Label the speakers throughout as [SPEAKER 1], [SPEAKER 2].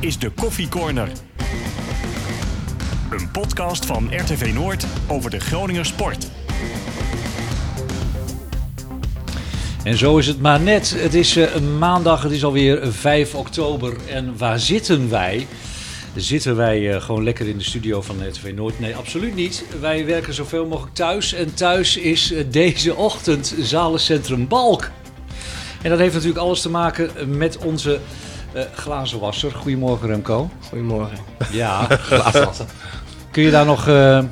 [SPEAKER 1] is de Koffie Corner. Een podcast van RTV Noord over de Groninger sport.
[SPEAKER 2] En zo is het maar net. Het is eh, een maandag, het is alweer 5 oktober. En waar zitten wij? Zitten wij eh, gewoon lekker in de studio van RTV Noord? Nee, absoluut niet. Wij werken zoveel mogelijk thuis. En thuis is eh, deze ochtend Zalencentrum Balk. En dat heeft natuurlijk alles te maken met onze eh glazenwasser. Goedemorgen Remco.
[SPEAKER 3] Goedemorgen.
[SPEAKER 2] Ja, glazenwasser. Kun je daar nog... eh,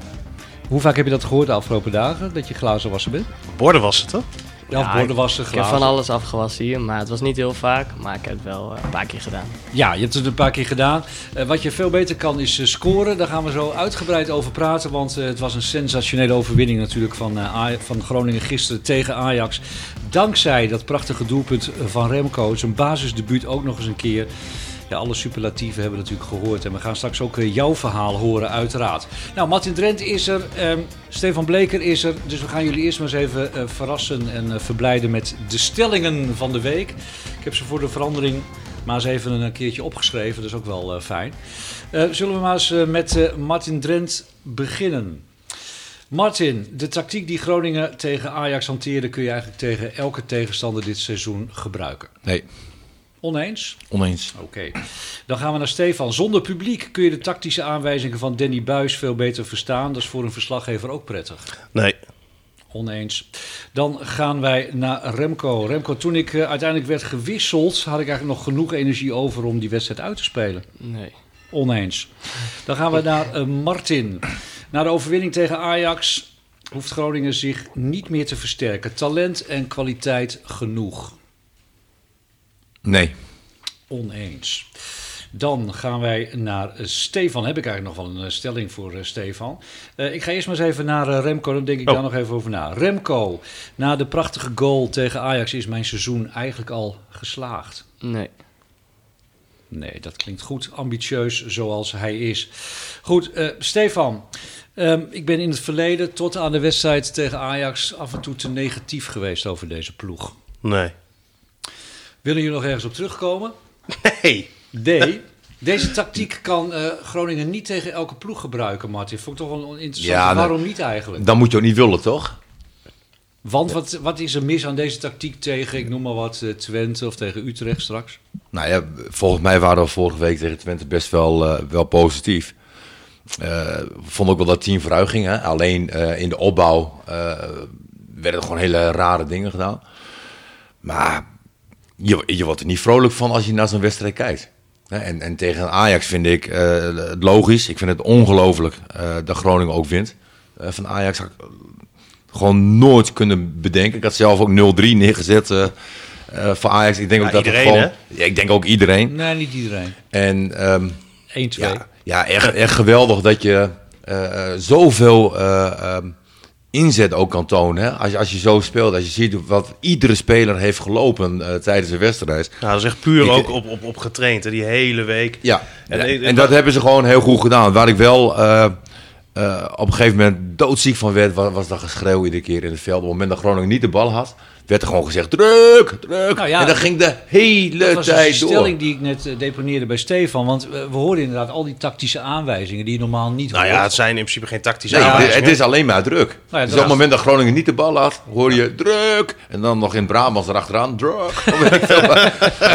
[SPEAKER 2] hoe vaak heb je dat gehoord de afgelopen dagen? Dat je glazenwasser bent?
[SPEAKER 4] Borden was het, toch?
[SPEAKER 2] Ja, of
[SPEAKER 3] Ja,
[SPEAKER 2] bordenwasser,
[SPEAKER 3] Ik heb
[SPEAKER 2] glazen-
[SPEAKER 3] van alles afgewassen hier, maar het was niet heel vaak. Maar ik heb het wel eh, een paar keer gedaan.
[SPEAKER 2] Ja, je hebt het een paar keer gedaan. Eh, wat je veel beter kan is eh, scoren. Daar gaan we zo uitgebreid over praten. Want eh, het was een sensationele overwinning natuurlijk van, eh, Aj- van Groningen gisteren tegen Ajax. Dankzij dat prachtige doelpunt van Remco. Zijn basisdebuut ook nog eens een keer. Ja, alle superlatieven hebben we natuurlijk gehoord. En we gaan straks ook eh, jouw verhaal horen, uiteraard. Nou, Martin Drent is er. ehm, Stefan Bleker is er. Dus we gaan jullie eerst maar eens even eh, verrassen en eh, verblijden met de stellingen van de week. Ik heb ze voor de verandering maar eens even een keertje opgeschreven. Dat is ook wel eh, fijn. Eh, zullen we maar eens eh, met eh, Martin Drent beginnen. Martin, de tactiek die Groningen tegen Ajax hanteerde... kun je eigenlijk tegen elke tegenstander dit seizoen gebruiken.
[SPEAKER 4] Nee,
[SPEAKER 2] Oneens?
[SPEAKER 4] oneens.
[SPEAKER 2] Oké. Dan gaan we naar Stefan. Zonder publiek kun je de tactische aanwijzingen van Danny Buis veel beter verstaan. Dat is voor een verslaggever ook prettig.
[SPEAKER 4] Nee,
[SPEAKER 2] Oneens. Dan gaan wij naar Remco. Remco, toen ik eh, uiteindelijk werd gewisseld, had ik eigenlijk nog genoeg energie over om die wedstrijd uit te spelen.
[SPEAKER 3] Nee.
[SPEAKER 2] Oneens. Dan gaan we naar eh, Martin. Na de overwinning tegen Ajax hoeft Groningen zich niet meer te versterken. Talent en kwaliteit genoeg.
[SPEAKER 4] nee.
[SPEAKER 2] Oneens. Dan gaan wij naar eh, Stefan. Heb ik eigenlijk nog wel een eh, stelling voor eh, Stefan. Eh, ik ga eerst maar eens even naar eh, Remco. Dan denk ik
[SPEAKER 4] Oh.
[SPEAKER 2] daar nog even over na. Remco, na de prachtige goal tegen Ajax is mijn seizoen eigenlijk al geslaagd.
[SPEAKER 3] Nee.
[SPEAKER 2] Nee, dat klinkt goed. Ambitieus zoals hij is. Goed, eh, Stefan. ehm, ik ben in het verleden tot aan de wedstrijd tegen Ajax af en toe te negatief geweest over deze ploeg.
[SPEAKER 4] Nee.
[SPEAKER 2] Willen jullie nog ergens op terugkomen?
[SPEAKER 4] Nee.
[SPEAKER 2] Nee. Deze tactiek kan eh, Groningen niet tegen elke ploeg gebruiken, Martin. Vond ik toch wel interessant.
[SPEAKER 5] Ja, nou-
[SPEAKER 2] Waarom niet eigenlijk?
[SPEAKER 5] Dan moet je ook niet willen, toch?
[SPEAKER 2] Want wat, wat is er mis aan deze tactiek tegen, ik noem maar wat, eh, Twente of tegen Utrecht straks?
[SPEAKER 5] Nou ja, volgens mij waren we vorige week tegen Twente best wel, eh, wel positief. Eh vond ook wel dat het team vooruit ging. Hè? Alleen eh, in de opbouw eh, werden er gewoon hele rare dingen gedaan. Maar je, je wordt er niet vrolijk van als je naar zo'n wedstrijd kijkt. Hè, En, en tegen Ajax vind ik eh, het logisch. Ik vind het ongelooflijk eh, dat Groningen ook wint. Eh, van Ajax had ik gewoon nooit kunnen bedenken. Ik had zelf ook 0-3 neergezet eh, eh, voor Ajax. Ik denk
[SPEAKER 4] Ja,
[SPEAKER 5] ook dat het
[SPEAKER 4] iedereen,
[SPEAKER 5] gewoon- Ja, ik denk ook iedereen.
[SPEAKER 2] Nee, niet iedereen.
[SPEAKER 5] En ehm,
[SPEAKER 2] 1, 2.
[SPEAKER 5] ja, ja echt, echt geweldig dat je eh, eh, zoveel eh, ehm, inzet ook kan tonen. Hè? Als, je- als je zo speelt, als je ziet wat iedere speler heeft gelopen eh, tijdens de wedstrijd.
[SPEAKER 4] Nou, dat is echt puur
[SPEAKER 5] Ik-
[SPEAKER 4] ook op, op, op getraind, hè, die hele week.
[SPEAKER 5] Ja,
[SPEAKER 4] En-
[SPEAKER 5] en,
[SPEAKER 4] en-
[SPEAKER 5] dat hebben ze gewoon heel goed gedaan. Waar ik wel eh, eh, op een gegeven moment doodziek van werd, was, was dat geschreeuw iedere keer in het veld. Op het moment dat Groningen niet de bal had, werd er gewoon gezegd, druk, druk.
[SPEAKER 2] Nou ja,
[SPEAKER 5] en dat ging de hele
[SPEAKER 2] Dat was dus
[SPEAKER 5] tijd
[SPEAKER 2] de
[SPEAKER 5] door.
[SPEAKER 2] stelling die ik net eh, deponeerde bij Stefan. Want eh, we hoorden inderdaad al die tactische aanwijzingen die je normaal niet
[SPEAKER 4] Nou ja,
[SPEAKER 2] hoort.
[SPEAKER 4] het zijn in principe geen tactische
[SPEAKER 5] Nee, het,
[SPEAKER 4] aanwijzingen.
[SPEAKER 5] het is alleen maar druk.
[SPEAKER 4] Nou
[SPEAKER 2] dat
[SPEAKER 5] dus
[SPEAKER 2] is-
[SPEAKER 5] op het moment dat Groningen niet de bal had, hoor je druk. En dan nog in Brabants erachteraan, druk. Of weet ik veel wat.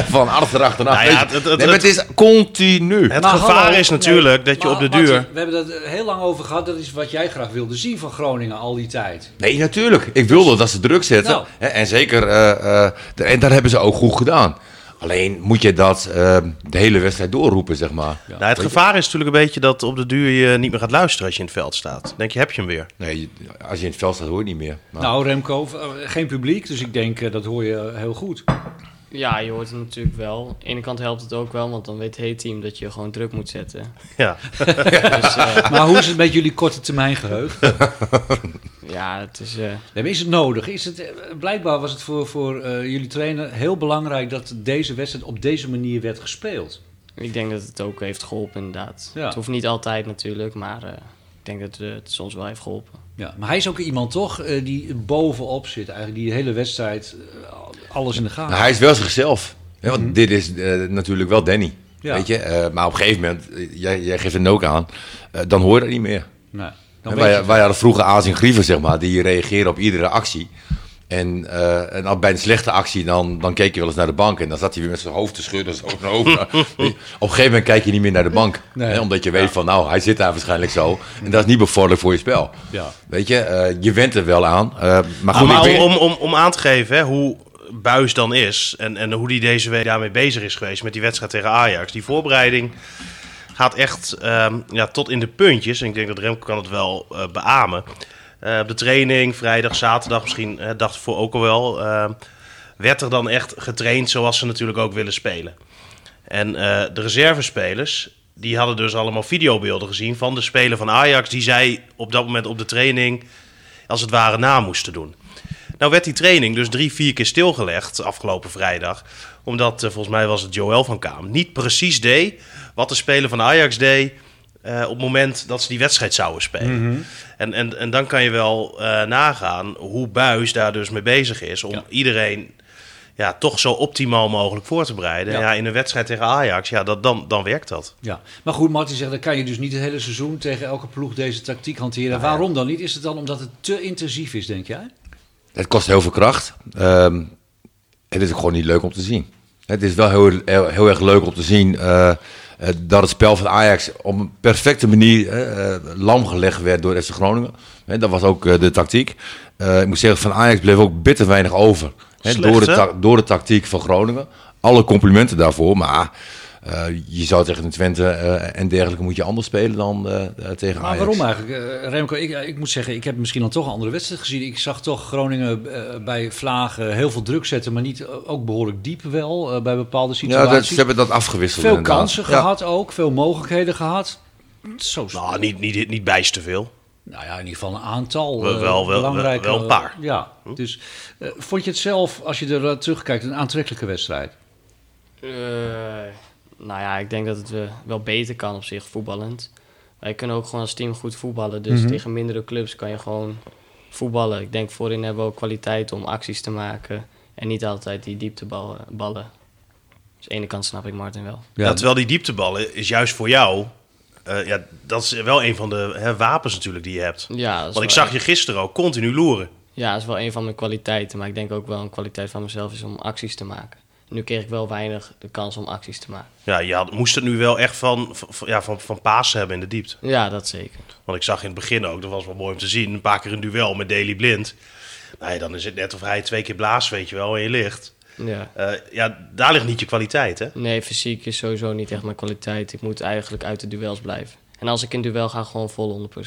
[SPEAKER 5] Van achter achteraan.
[SPEAKER 4] Nou ja,
[SPEAKER 5] weet je.
[SPEAKER 4] het- het-
[SPEAKER 5] nee, maar het is continu.
[SPEAKER 4] Het
[SPEAKER 2] Maar
[SPEAKER 4] gevaar
[SPEAKER 2] hallo,
[SPEAKER 4] is natuurlijk
[SPEAKER 2] nee,
[SPEAKER 4] dat je
[SPEAKER 2] maar
[SPEAKER 4] op de
[SPEAKER 2] Martin,
[SPEAKER 4] duur...
[SPEAKER 2] we hebben dat eh, heel lang over gehad. Dat is wat jij graag wilde zien van Groningen al die tijd.
[SPEAKER 5] Nee, natuurlijk. Ik wilde dat ze druk zetten.
[SPEAKER 2] Nou.
[SPEAKER 5] Hè, En zeker, eh, eh, de- en daar hebben ze ook goed gedaan. Alleen moet je dat eh, de hele wedstrijd doorroepen, zeg maar.
[SPEAKER 4] Nou, het gevaar is natuurlijk een beetje dat op de duur je niet meer gaat luisteren als je in het veld staat. Dan denk je, heb je hem weer.
[SPEAKER 5] Nee, je- als je in het veld staat, hoor je het niet meer. Maar-
[SPEAKER 2] Nou, Remco, eh, geen publiek. Dus ik denk eh, dat hoor je eh, heel goed.
[SPEAKER 3] Ja, je hoort het natuurlijk wel. Aan de ene kant helpt het ook wel, want dan weet het team dat je gewoon druk moet zetten.
[SPEAKER 4] Ja.
[SPEAKER 3] Dus eh,
[SPEAKER 2] Maar hoe is het met jullie korte termijn geheugen?
[SPEAKER 3] ja, het is... eh,
[SPEAKER 2] Nee, maar Is het nodig? Is het, eh, blijkbaar was het voor, voor eh, jullie trainer heel belangrijk dat deze wedstrijd op deze manier werd gespeeld.
[SPEAKER 3] ik denk dat het ook heeft geholpen, inderdaad.
[SPEAKER 2] Ja.
[SPEAKER 3] Het hoeft niet altijd natuurlijk, maar eh, ik denk dat eh, het soms wel heeft geholpen.
[SPEAKER 2] Ja, maar hij is ook iemand toch eh, die bovenop zit, eigenlijk die de hele wedstrijd eh, alles in de gaten.
[SPEAKER 5] Nou, hij is wel zichzelf. Hè, want dit is eh, natuurlijk wel Danny.
[SPEAKER 2] Mhm. Ja.
[SPEAKER 5] Weet je? Eh, maar op een gegeven moment, eh, jij, jij geeft het ook aan, eh, dan hoor je dat niet meer.
[SPEAKER 2] Nee, Nou, dan weet
[SPEAKER 5] Hè,
[SPEAKER 2] je
[SPEAKER 5] wij,
[SPEAKER 2] het.
[SPEAKER 5] wij hadden vroeger Azing Grieven, zeg maar, die reageren op iedere actie. En, eh, en al bij een slechte actie, dan, dan keek je wel eens naar de bank. En dan zat hij weer met zijn hoofd te schudden. Zo naar over. op een gegeven moment kijk je niet meer naar de bank.
[SPEAKER 2] Nee.
[SPEAKER 5] Hè, omdat je weet van, nou, hij zit daar waarschijnlijk zo. En dat is niet bevorderlijk voor je spel.
[SPEAKER 2] Ja. Ah,
[SPEAKER 5] Weet je, eh, je went er wel aan. eh, maar goed, ik
[SPEAKER 4] Ah, maar
[SPEAKER 5] weet-
[SPEAKER 4] om, om, om, om aan te geven hè, hoe Buis dan is en, en hoe die deze week daarmee bezig is geweest met die wedstrijd tegen Ajax. Die voorbereiding gaat echt ehm, ja, tot in de puntjes. En ik denk dat Remco kan het wel eh, beamen. Eh, op de training, vrijdag, zaterdag, misschien eh dag ervoor ook al wel. ehm, werd er dan echt getraind zoals ze natuurlijk ook willen spelen. En eh, de reservespelers, die hadden dus allemaal videobeelden gezien van de speler van Ajax... die zij op dat moment op de training als het ware na moesten doen. Nou werd die training dus drie, vier keer stilgelegd afgelopen vrijdag. Omdat, eh, volgens mij was het Joël van Kaam, niet precies deed wat de speler van Ajax deed... eh, op het moment dat ze die wedstrijd zouden spelen. en, en, en dan kan je wel eh, nagaan hoe Buis daar dus mee bezig is. Om iedereen ja, toch zo optimaal mogelijk voor te bereiden.
[SPEAKER 2] Ja.
[SPEAKER 4] Ja. in een wedstrijd tegen Ajax, ja, dat, dan, dan werkt dat.
[SPEAKER 2] Ja, maar goed, Martin zegt, dan kan je dus niet het hele seizoen tegen elke ploeg deze tactiek hanteren. Waarom dan niet? Is het dan omdat het te intensief is, denk
[SPEAKER 5] Nou,
[SPEAKER 2] jij?
[SPEAKER 5] Het kost heel veel kracht. Ehm, het is ook gewoon niet leuk om te zien. Het is wel heel, heel, heel erg leuk om te zien eh, eh, dat het spel van Ajax op een perfecte manier eh, eh, lam gelegd werd door FC Groningen. Hè, dat was ook eh, de tactiek. Eh, ik moet zeggen, van Ajax bleef ook bitter weinig over. Hè,
[SPEAKER 4] Slecht,
[SPEAKER 5] door, de
[SPEAKER 4] hè?
[SPEAKER 5] ta- door de tactiek van Groningen. Alle complimenten daarvoor, maar eh, je zou tegen een Twente eh, en dergelijke moet je anders spelen dan eh, eh, tegen
[SPEAKER 2] Maar
[SPEAKER 5] Ajax.
[SPEAKER 2] waarom eigenlijk? Eh, Remco, ik, ik moet zeggen, ik heb misschien dan toch een andere wedstrijd gezien. Ik zag toch Groningen eh, bij Vlagen heel veel druk zetten, maar niet eh, ook behoorlijk diep wel eh, bij bepaalde
[SPEAKER 5] Ja,
[SPEAKER 2] situaties.
[SPEAKER 5] dat, ze hebben dat afgewisseld.
[SPEAKER 2] veel
[SPEAKER 5] inderdaad.
[SPEAKER 2] kansen
[SPEAKER 5] Ja.
[SPEAKER 2] gehad ook, veel mogelijkheden gehad. Zo
[SPEAKER 4] Nou, niet, niet, niet bijster veel.
[SPEAKER 2] Nou ja, in ieder geval een aantal
[SPEAKER 4] Wel-
[SPEAKER 2] eh,
[SPEAKER 4] wel- wel-
[SPEAKER 2] belangrijke...
[SPEAKER 4] wel een paar. Hm?
[SPEAKER 2] Ja, dus eh, vond je het zelf, als je er eh, terugkijkt, een aantrekkelijke wedstrijd?
[SPEAKER 3] Eh, nou ja, ik denk dat het eh, wel beter kan op zich voetballend. Wij kunnen ook gewoon als team goed voetballen. Dus tegen mindere clubs kan je gewoon voetballen. Ik denk voorin hebben we ook kwaliteit om acties te maken. En niet altijd die diepteballen. ballen. Dus aan de ene kant snap ik Martin wel.
[SPEAKER 4] Ja. terwijl die diepteballen is juist voor jou. eh, ja, dat is wel een van de hè, wapens natuurlijk die je hebt.
[SPEAKER 3] Ja, dat is
[SPEAKER 4] Want ik
[SPEAKER 3] wel-
[SPEAKER 4] zag je gisteren ook continu loeren.
[SPEAKER 3] Ja, dat is wel een van mijn kwaliteiten. Maar ik denk ook wel een kwaliteit van mezelf is om acties te maken. Nu kreeg ik wel weinig de kans om acties te maken.
[SPEAKER 4] Ja, je had, moest het nu wel echt van, van, ja, van, van paas hebben in de diepte.
[SPEAKER 3] Ja, dat zeker.
[SPEAKER 4] Want ik zag in het begin ook, dat was wel mooi om te zien, een paar keer een duel met Daily Blind. Nou ja, dan is het net of hij twee keer blaast, weet je wel, en je ligt.
[SPEAKER 3] Ja.
[SPEAKER 4] Eh, ja, daar ligt niet je kwaliteit, hè?
[SPEAKER 3] Nee, fysiek is sowieso niet echt mijn kwaliteit. Ik moet eigenlijk uit de duels blijven. En als ik in duel ga, gewoon vol 100%.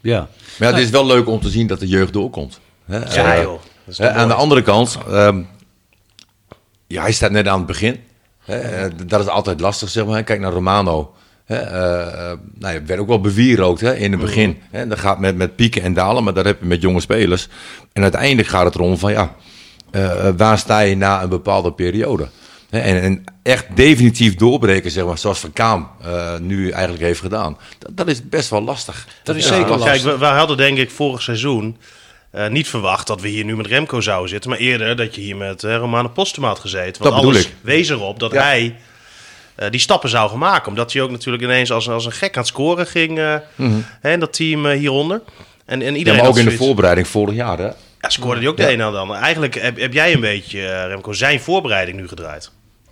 [SPEAKER 2] Ja.
[SPEAKER 5] Maar ja, het is wel leuk om te zien dat de jeugd doorkomt. Hè?
[SPEAKER 4] Ja,
[SPEAKER 5] Eh,
[SPEAKER 4] joh. Dat is
[SPEAKER 5] hè,
[SPEAKER 4] toch
[SPEAKER 5] aan de
[SPEAKER 4] mooi.
[SPEAKER 5] andere kant, ehm, ja, hij staat net aan het begin. Hè? eh, d- Dat is altijd lastig, zeg maar. Kijk naar Romano. Hè? eh, eh, nou, ja, werd ook wel bewierookt hè, in het
[SPEAKER 4] Mhm.
[SPEAKER 5] begin. Hè? Dat gaat met, met pieken en dalen, maar dat heb je met jonge spelers. En uiteindelijk gaat het erom van, ja, eh, eh, waar sta je na een bepaalde periode? Hè, En, en echt definitief doorbreken, zeg maar, zoals Van Kaam eh, nu eigenlijk heeft gedaan. Dat, dat is best wel lastig.
[SPEAKER 2] Dat is
[SPEAKER 5] Ja.
[SPEAKER 2] zeker
[SPEAKER 4] Want
[SPEAKER 2] lastig.
[SPEAKER 4] Kijk, we, we hadden denk ik vorig seizoen eh, niet verwacht dat we hier nu met Remco zouden zitten. Maar eerder dat je hier met eh, Romano Postema had gezeten. Want
[SPEAKER 5] Dat bedoel
[SPEAKER 4] alles
[SPEAKER 5] ik.
[SPEAKER 4] wees erop dat
[SPEAKER 5] Ja.
[SPEAKER 4] hij eh, die stappen zou gaan maken. Omdat hij ook natuurlijk ineens als, als een gek aan het scoren ging. eh, hè, in dat team eh, hieronder. En, en
[SPEAKER 5] Mhm. Ja,
[SPEAKER 4] iedereen
[SPEAKER 5] maar ook
[SPEAKER 4] had
[SPEAKER 5] in de
[SPEAKER 4] zoiets-
[SPEAKER 5] voorbereiding vorig jaar, hè?
[SPEAKER 4] ja, scoorde hij ook
[SPEAKER 5] Ja.
[SPEAKER 4] de een en dan. Eigenlijk heb, heb jij een beetje, eh, Remco, zijn voorbereiding nu gedraaid.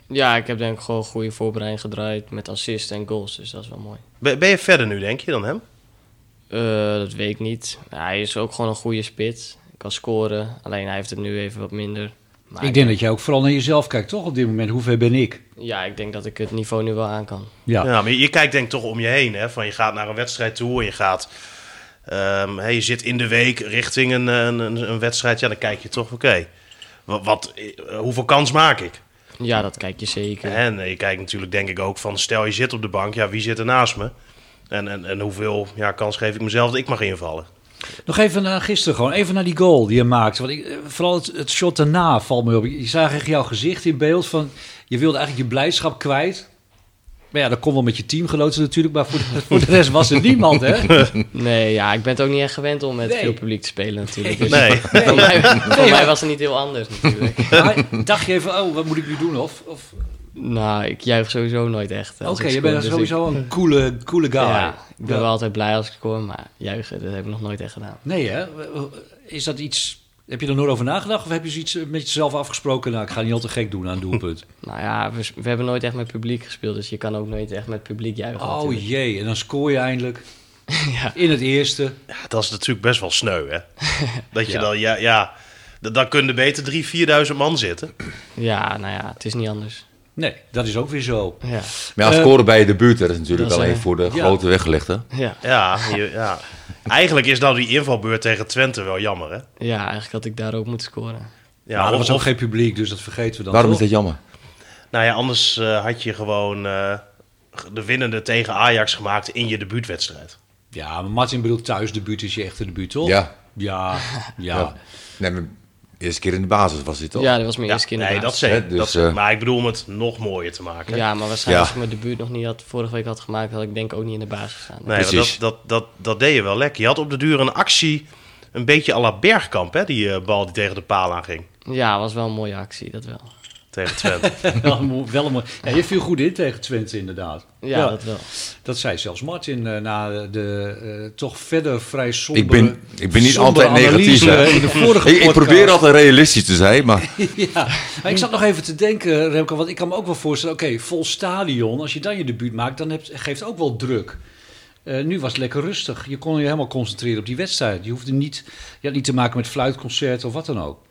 [SPEAKER 3] Ja, ik heb denk ik gewoon goede voorbereiding gedraaid met assists en goals. Dus dat is wel mooi.
[SPEAKER 4] Ben, ben je verder nu, denk je, dan hem?
[SPEAKER 3] Eh, dat weet ik niet. Hij is ook gewoon een goede spits. Ik kan scoren. Alleen hij heeft het nu even wat minder. Maar
[SPEAKER 2] ik denk dat jij ook vooral naar jezelf kijkt, toch? Op dit moment, hoe ver ben ik?
[SPEAKER 3] Ja, ik denk dat ik het niveau nu wel aan kan.
[SPEAKER 2] Ja.
[SPEAKER 4] Ja, maar je, je kijkt denk ik toch om je heen. Hè? Van je gaat naar een wedstrijd toe en je gaat. ehm, hè, je zit in de week richting een, een, een, een wedstrijd. Ja, dan kijk je toch, oké. Wat, wat, eh, hoeveel kans maak ik?
[SPEAKER 3] Ja, dat kijk je zeker.
[SPEAKER 4] En eh, je kijkt natuurlijk denk ik ook van... stel je zit op de bank, ja, wie zit er naast me? En, en, en hoeveel ja, kans geef ik mezelf dat ik mag invallen?
[SPEAKER 2] Nog even naar gisteren gewoon. Even naar die goal die je maakte. Want ik, eh, vooral het, het shot daarna valt me op. Je zag echt jouw gezicht in beeld van... Je wilde eigenlijk je blijdschap kwijt. Maar ja, dat kon wel met je team geloten natuurlijk. Maar voor de, voor de rest was er niemand, hè?
[SPEAKER 3] Nee, ja, ik ben het ook niet echt gewend om met
[SPEAKER 2] Nee.
[SPEAKER 3] veel publiek te spelen natuurlijk.
[SPEAKER 2] Nee.
[SPEAKER 3] Dus
[SPEAKER 4] Nee.
[SPEAKER 3] Voor, mij, voor mij was het niet heel anders natuurlijk.
[SPEAKER 2] Maar dacht je even, oh, wat moet ik nu doen? Of, of
[SPEAKER 3] nou, ik juich sowieso nooit echt.
[SPEAKER 2] oké,
[SPEAKER 3] als ik
[SPEAKER 2] je bent
[SPEAKER 3] scoor, dus ik-
[SPEAKER 2] sowieso een coole, coole guy.
[SPEAKER 3] Ja, ik ben
[SPEAKER 2] Ja.
[SPEAKER 3] wel altijd blij als ik scoor, maar juichen, dat heb ik nog nooit echt gedaan.
[SPEAKER 2] Nee, hè? Is dat iets... Heb je er nooit over nagedacht? Of heb je zoiets eh, met jezelf afgesproken? Nou, ik ga niet al te gek doen aan doelpunt.
[SPEAKER 3] Nou ja, we, we hebben nooit echt met publiek gespeeld, dus je kan ook nooit echt met publiek juichen.
[SPEAKER 2] Oh
[SPEAKER 3] natuurlijk.
[SPEAKER 2] jee, en dan scoor je eindelijk.
[SPEAKER 3] Ja.
[SPEAKER 2] In het eerste.
[SPEAKER 4] Ja, dat is natuurlijk best wel sneu, hè? Dat je
[SPEAKER 2] Ja.
[SPEAKER 4] dan, ja, ja, d- dan kunnen er beter drie, vierduizend man zitten.
[SPEAKER 3] ja, nou ja, het is niet anders.
[SPEAKER 2] Nee, dat is ook weer zo.
[SPEAKER 3] Ja,
[SPEAKER 5] Maar ja,
[SPEAKER 2] Eh,
[SPEAKER 5] scoren bij de buurt, dat is natuurlijk
[SPEAKER 3] dat is,
[SPEAKER 5] alleen
[SPEAKER 3] eh,
[SPEAKER 5] voor de
[SPEAKER 2] ja.
[SPEAKER 5] grote weggelegd, hè?
[SPEAKER 3] ja.
[SPEAKER 4] Ja, je- ja. Eigenlijk is nou die invalbeurt tegen Twente wel jammer, hè?
[SPEAKER 3] ja eigenlijk had ik daar ook moeten scoren.
[SPEAKER 2] maar
[SPEAKER 4] Ja,
[SPEAKER 2] er
[SPEAKER 4] of-
[SPEAKER 2] Nou, was ook
[SPEAKER 4] of-
[SPEAKER 2] geen publiek, dus dat vergeten we dan
[SPEAKER 5] Waarom is
[SPEAKER 2] toch?
[SPEAKER 5] dat jammer?
[SPEAKER 4] Nou ja, anders eh, had je gewoon eh, de winnende tegen Ajax gemaakt in je debuutwedstrijd.
[SPEAKER 2] Ja, maar Martin bedoelt thuis de buurt is je echte debuut, toch?
[SPEAKER 5] Ja.
[SPEAKER 2] Ja, ja.
[SPEAKER 5] Ja. Nee, maar eerste keer in de basis was dit toch?
[SPEAKER 3] Ja, dat was mijn
[SPEAKER 4] Ja,
[SPEAKER 3] eerste keer in de
[SPEAKER 4] nee, dat
[SPEAKER 3] basis.
[SPEAKER 4] zeker.
[SPEAKER 5] Hè, dus,
[SPEAKER 4] dat zeker.
[SPEAKER 5] eh,
[SPEAKER 4] maar ik bedoel om het nog mooier te maken.
[SPEAKER 3] Ja, maar waarschijnlijk
[SPEAKER 5] Ja.
[SPEAKER 3] als ik mijn debuut nog niet had, vorige week had gemaakt, had ik denk ik ook niet in de basis gestaan.
[SPEAKER 4] nee, want dat,
[SPEAKER 5] precies.
[SPEAKER 4] dat, dat, dat deed je wel lekker. Je had op de duur een actie, een beetje à la Bergkamp, hè? Die eh, bal die tegen de paal aanging.
[SPEAKER 3] Ja, was wel een mooie actie, dat wel.
[SPEAKER 4] Tegen Twente.
[SPEAKER 2] wel een mooi- wel een mooi- ja, je viel goed in tegen Twente, inderdaad.
[SPEAKER 3] Ja, dat wel.
[SPEAKER 2] dat zei zelfs Martin eh, na de eh, toch verder vrij sombere
[SPEAKER 5] Ik ben, ik ben niet
[SPEAKER 2] sombere
[SPEAKER 5] altijd negatief.
[SPEAKER 2] analyse
[SPEAKER 5] hè.
[SPEAKER 2] in de vorige
[SPEAKER 5] ik, ik probeer
[SPEAKER 2] podcast.
[SPEAKER 5] altijd realistisch te zijn, maar
[SPEAKER 2] Ja, maar ik zat nog even te denken, Remco, want ik kan me ook wel voorstellen... oké, vol stadion, als je dan je debuut maakt, dan hebt, geeft ook wel druk. Eh, nu was het lekker rustig. Je kon je helemaal concentreren op die wedstrijd. Je hoefde niet, je had niet te maken met fluitconcerten of wat dan ook.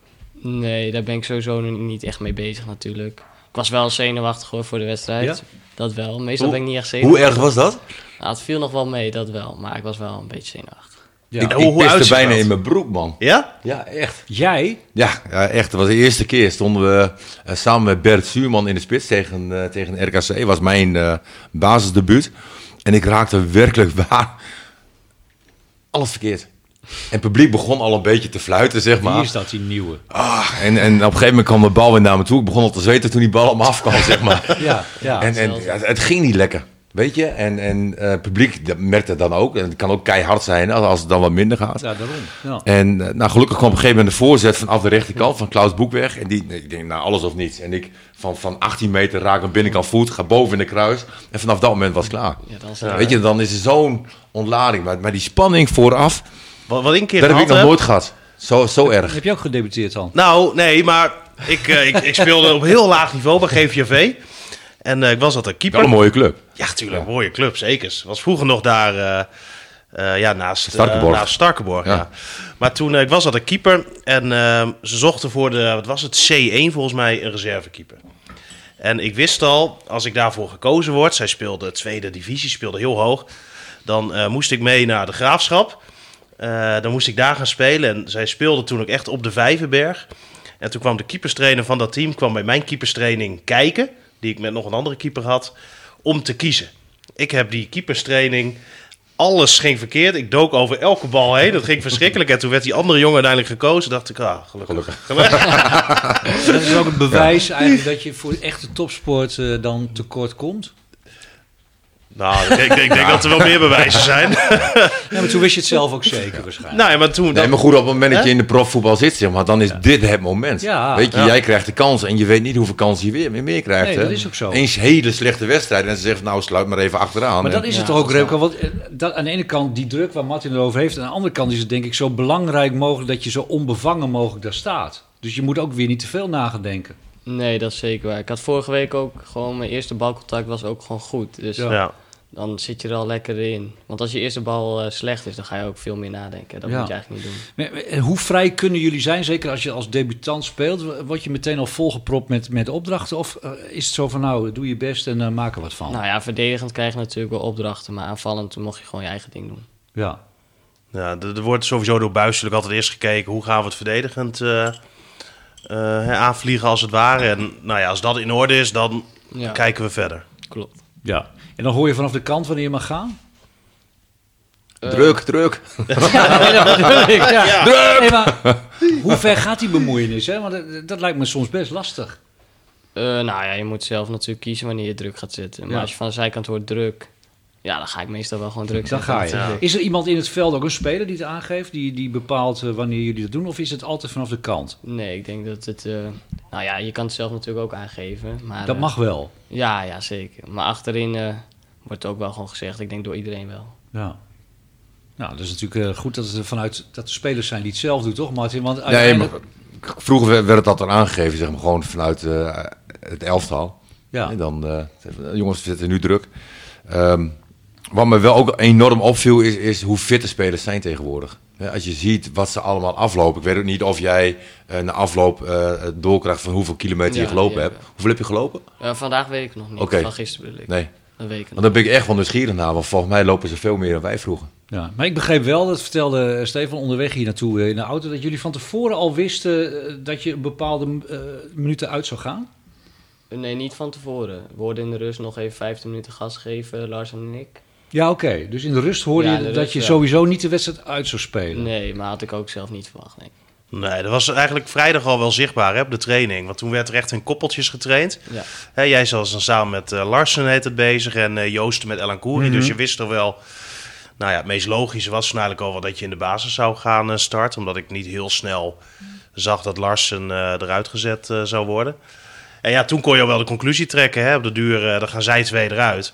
[SPEAKER 3] Nee, daar ben ik sowieso nu niet echt mee bezig natuurlijk. Ik was wel zenuwachtig hoor voor de wedstrijd. Dat wel. Meestal
[SPEAKER 5] Hoe-
[SPEAKER 3] ben ik niet echt
[SPEAKER 5] hoe
[SPEAKER 3] zenuwachtig.
[SPEAKER 5] erg was dat?
[SPEAKER 3] Nou, het viel nog wel mee, dat wel. Maar ik was wel een beetje zenuwachtig.
[SPEAKER 2] Ja.
[SPEAKER 5] Ik,
[SPEAKER 4] hoe-
[SPEAKER 5] ik
[SPEAKER 4] hoe
[SPEAKER 5] piste
[SPEAKER 4] uitziet
[SPEAKER 5] bijna
[SPEAKER 4] dat?
[SPEAKER 5] in mijn broek, man.
[SPEAKER 4] ja?
[SPEAKER 5] Ja, echt.
[SPEAKER 2] Jij?
[SPEAKER 5] Ja, ja, echt. Dat was de eerste keer. Stonden we eh, samen met Bert Zuurman in de spits tegen, eh, tegen RKC. was mijn eh basisdebuut. En ik raakte werkelijk waar alles verkeerd. En het publiek begon al een beetje te fluiten, zeg maar.
[SPEAKER 2] Wie is dat, die nieuwe?
[SPEAKER 5] Ah, en, en op een gegeven moment kwam de bal weer naar me toe. Ik begon al te zweten toen die bal op me afkwam, zeg maar.
[SPEAKER 2] Ja, ja.
[SPEAKER 5] en en ja, het, het ging niet lekker, weet je. En, en eh, het publiek dat merkt het dan ook. En het kan ook keihard zijn als- als het dan wat minder gaat.
[SPEAKER 2] Ja, daarom. Ja.
[SPEAKER 5] En eh, nou, gelukkig kwam op een gegeven moment de voorzet vanaf de rechterkant van Klaus Boekweg. En die, ik denk, nou, alles of niets. En ik van, van 18 meter raak mijn binnenkant voet, ga boven in de kruis. En vanaf dat moment was het klaar.
[SPEAKER 3] Ja, dan is het-
[SPEAKER 5] Weet je, dan is er zo'n ontlading. Maar, maar die spanning vooraf,
[SPEAKER 4] Wat, wat ik een keer
[SPEAKER 5] dat heb ik
[SPEAKER 4] gehad
[SPEAKER 5] nog nooit gehad. Zo, zo erg.
[SPEAKER 2] Heb je ook gedebuteerd dan?
[SPEAKER 4] Nou, nee, maar ik, eh, ik, ik speelde op heel laag niveau bij GVV. En eh, ik was dat een
[SPEAKER 5] Wel
[SPEAKER 4] keeper.
[SPEAKER 5] een mooie club.
[SPEAKER 4] Ja, tuurlijk. Mooie club, zeker. Was vroeger nog daar eh, eh, ja, naast eh,
[SPEAKER 5] Starkenborg.
[SPEAKER 4] naast Starkenborg ja.
[SPEAKER 5] Ja.
[SPEAKER 4] Maar toen, eh, ik was dat een keeper. En eh, ze zochten voor de, wat was het, C1 volgens mij, een reservekeeper. En ik wist al, als ik daarvoor gekozen word... Zij speelde tweede divisie, speelde heel hoog. Dan eh, moest ik mee naar de Graafschap. Eh, dan moest ik daar gaan spelen. En zij speelde toen ook echt op de Vijverberg. En toen kwam de keeperstrainer van dat team kwam bij mijn keeperstraining kijken. Die ik met nog een andere keeper had. Om te kiezen. Ik heb die keeperstraining. Alles ging verkeerd. Ik dook over elke bal heen. Dat ging verschrikkelijk. En toen werd die andere jongen uiteindelijk gekozen. Dacht ik, ah, gelukkig. Gelukkig.
[SPEAKER 2] Dat is ook een bewijs eigenlijk dat je voor echte topsport eh, dan tekort komt.
[SPEAKER 4] Nou, ik denk, ik denk dat er wel meer bewijzen zijn.
[SPEAKER 2] Ja, maar toen wist je het zelf ook zeker waarschijnlijk.
[SPEAKER 4] Nou ja, maar toen...
[SPEAKER 5] Nee, maar goed, op het moment dat je in de profvoetbal zit, zeg maar, dan is dit het moment.
[SPEAKER 2] Ja.
[SPEAKER 5] weet je,
[SPEAKER 4] Ja.
[SPEAKER 5] jij krijgt de kans en je weet niet hoeveel kansen je weer meer, meer krijgt.
[SPEAKER 2] Nee, dat
[SPEAKER 5] hè.
[SPEAKER 2] is ook zo.
[SPEAKER 5] Eens hele slechte wedstrijd en ze zegt, nou, sluit maar even achteraan.
[SPEAKER 2] Maar
[SPEAKER 5] En-
[SPEAKER 2] dat is
[SPEAKER 3] Ja,
[SPEAKER 2] het toch ook,
[SPEAKER 3] dat is
[SPEAKER 2] Remco. Want eh, dat, aan de ene kant die druk waar Martin erover heeft. En aan de andere kant is het denk ik zo belangrijk mogelijk dat je zo onbevangen mogelijk daar staat. Dus je moet ook weer niet te veel nagedenken.
[SPEAKER 3] Nee, dat is zeker waar. Ik had vorige week ook gewoon mijn eerste balcontact was ook gewoon goed. Dus
[SPEAKER 2] Ja.
[SPEAKER 4] Ja.
[SPEAKER 3] dan zit je er al lekker in. Want als je eerste bal eh, slecht is, dan ga je ook veel meer nadenken. Dat
[SPEAKER 2] Ja.
[SPEAKER 3] moet je eigenlijk niet doen.
[SPEAKER 2] Maar, maar, en Hoe vrij kunnen jullie zijn? Zeker als je als debutant speelt. Word je meteen al volgepropt met, met opdrachten? Of eh, is het zo van nou, doe je best en eh, maak er wat van?
[SPEAKER 3] Nou ja, verdedigend krijg je natuurlijk wel opdrachten, maar aanvallend mocht je gewoon je eigen ding doen.
[SPEAKER 2] Ja.
[SPEAKER 4] Ja, er er wordt sowieso door Buiselijk altijd eerst gekeken hoe gaan we het verdedigend eh, eh, hè, aanvliegen als het ware. En nou ja, als dat in orde is, dan
[SPEAKER 3] Ja,
[SPEAKER 4] kijken we verder.
[SPEAKER 3] klopt.
[SPEAKER 2] ja. En dan hoor je vanaf de kant wanneer je mag gaan?
[SPEAKER 5] Druk, druk.
[SPEAKER 2] ja. Nee, maar hoe ver gaat die bemoeienis? Hè? Want dat, dat lijkt me soms best lastig.
[SPEAKER 3] Eh, nou ja, je moet zelf natuurlijk kiezen wanneer je druk gaat zitten. Maar
[SPEAKER 2] Ja.
[SPEAKER 3] als je van de zijkant hoort druk, ja, dan ga ik meestal wel gewoon druk
[SPEAKER 2] Dan
[SPEAKER 3] zitten.
[SPEAKER 2] ga je.
[SPEAKER 4] Ja.
[SPEAKER 2] Is er iemand in het veld, ook een speler die het aangeeft, die, die bepaalt eh, wanneer jullie dat doen? Of is het altijd vanaf de kant?
[SPEAKER 3] Nee, ik denk dat het... eh, nou ja, je kan het zelf natuurlijk ook aangeven. Maar,
[SPEAKER 2] dat
[SPEAKER 3] eh,
[SPEAKER 2] mag wel.
[SPEAKER 3] Ja, ja, zeker. Maar achterin eh, wordt ook wel gewoon gezegd. Ik denk door iedereen wel.
[SPEAKER 2] Ja. Nou, dat is natuurlijk eh, goed dat het er vanuit dat de spelers zijn die het zelf doen, toch, Martin? Want
[SPEAKER 5] Nee, maar
[SPEAKER 2] uiteindelijk-
[SPEAKER 5] vroeger werd- werd dat dan aangegeven, zeg maar, gewoon vanuit eh, het elftal.
[SPEAKER 2] Ja.
[SPEAKER 5] En dan, eh, jongens, we zitten nu druk. Ehm, wat me wel ook enorm opviel, is, is hoe fit de spelers zijn tegenwoordig. Hè, Als je ziet wat ze allemaal aflopen. Ik weet ook niet of jij eh, na afloop eh, doorkrijgt van hoeveel kilometer je
[SPEAKER 3] Ja, ja.
[SPEAKER 5] gelopen hebt. Hoeveel heb je gelopen?
[SPEAKER 3] Eh, vandaag weet ik nog niet.
[SPEAKER 5] Oké.
[SPEAKER 3] Van gisteren bedoel ik.
[SPEAKER 5] Nee.
[SPEAKER 3] Een week
[SPEAKER 5] Want daar ben ik echt wel nieuwsgierig naar. Want volgens mij lopen ze veel meer dan wij vroeger.
[SPEAKER 2] Ja, maar ik begreep wel, dat vertelde eh, Stefan onderweg hier naartoe eh, in de auto, dat jullie van tevoren al wisten eh, dat je een bepaalde eh, minuten uit zou gaan.
[SPEAKER 3] Nee, niet van tevoren. We hoorden in de rust nog even 15 minuten gas geven, Lars en ik.
[SPEAKER 2] Ja, oké. Dus in de rust hoorde
[SPEAKER 3] Ja,
[SPEAKER 2] je
[SPEAKER 3] in de
[SPEAKER 2] dat
[SPEAKER 3] rust,
[SPEAKER 2] je
[SPEAKER 3] ja.
[SPEAKER 2] sowieso niet de wedstrijd uit zou spelen.
[SPEAKER 3] Nee, maar had ik ook zelf niet verwacht. Nee.
[SPEAKER 4] Nee, dat was eigenlijk vrijdag al wel zichtbaar hè, op de training. Want toen werd er echt in koppeltjes getraind.
[SPEAKER 3] Ja.
[SPEAKER 4] Hè, jij was dan samen met eh, Larsen heet het bezig en eh, Joosten met Elan Koeri.
[SPEAKER 2] Mhm.
[SPEAKER 4] Dus je wist er wel... Nou ja, het meest logische was toen eigenlijk al wel dat je in de basis zou gaan eh, starten. Omdat ik niet heel snel zag dat Larsen eh, eruit gezet eh, zou worden. En ja, toen kon je al wel de conclusie trekken. Hè? Op de duur, eh, dan gaan zij twee eruit.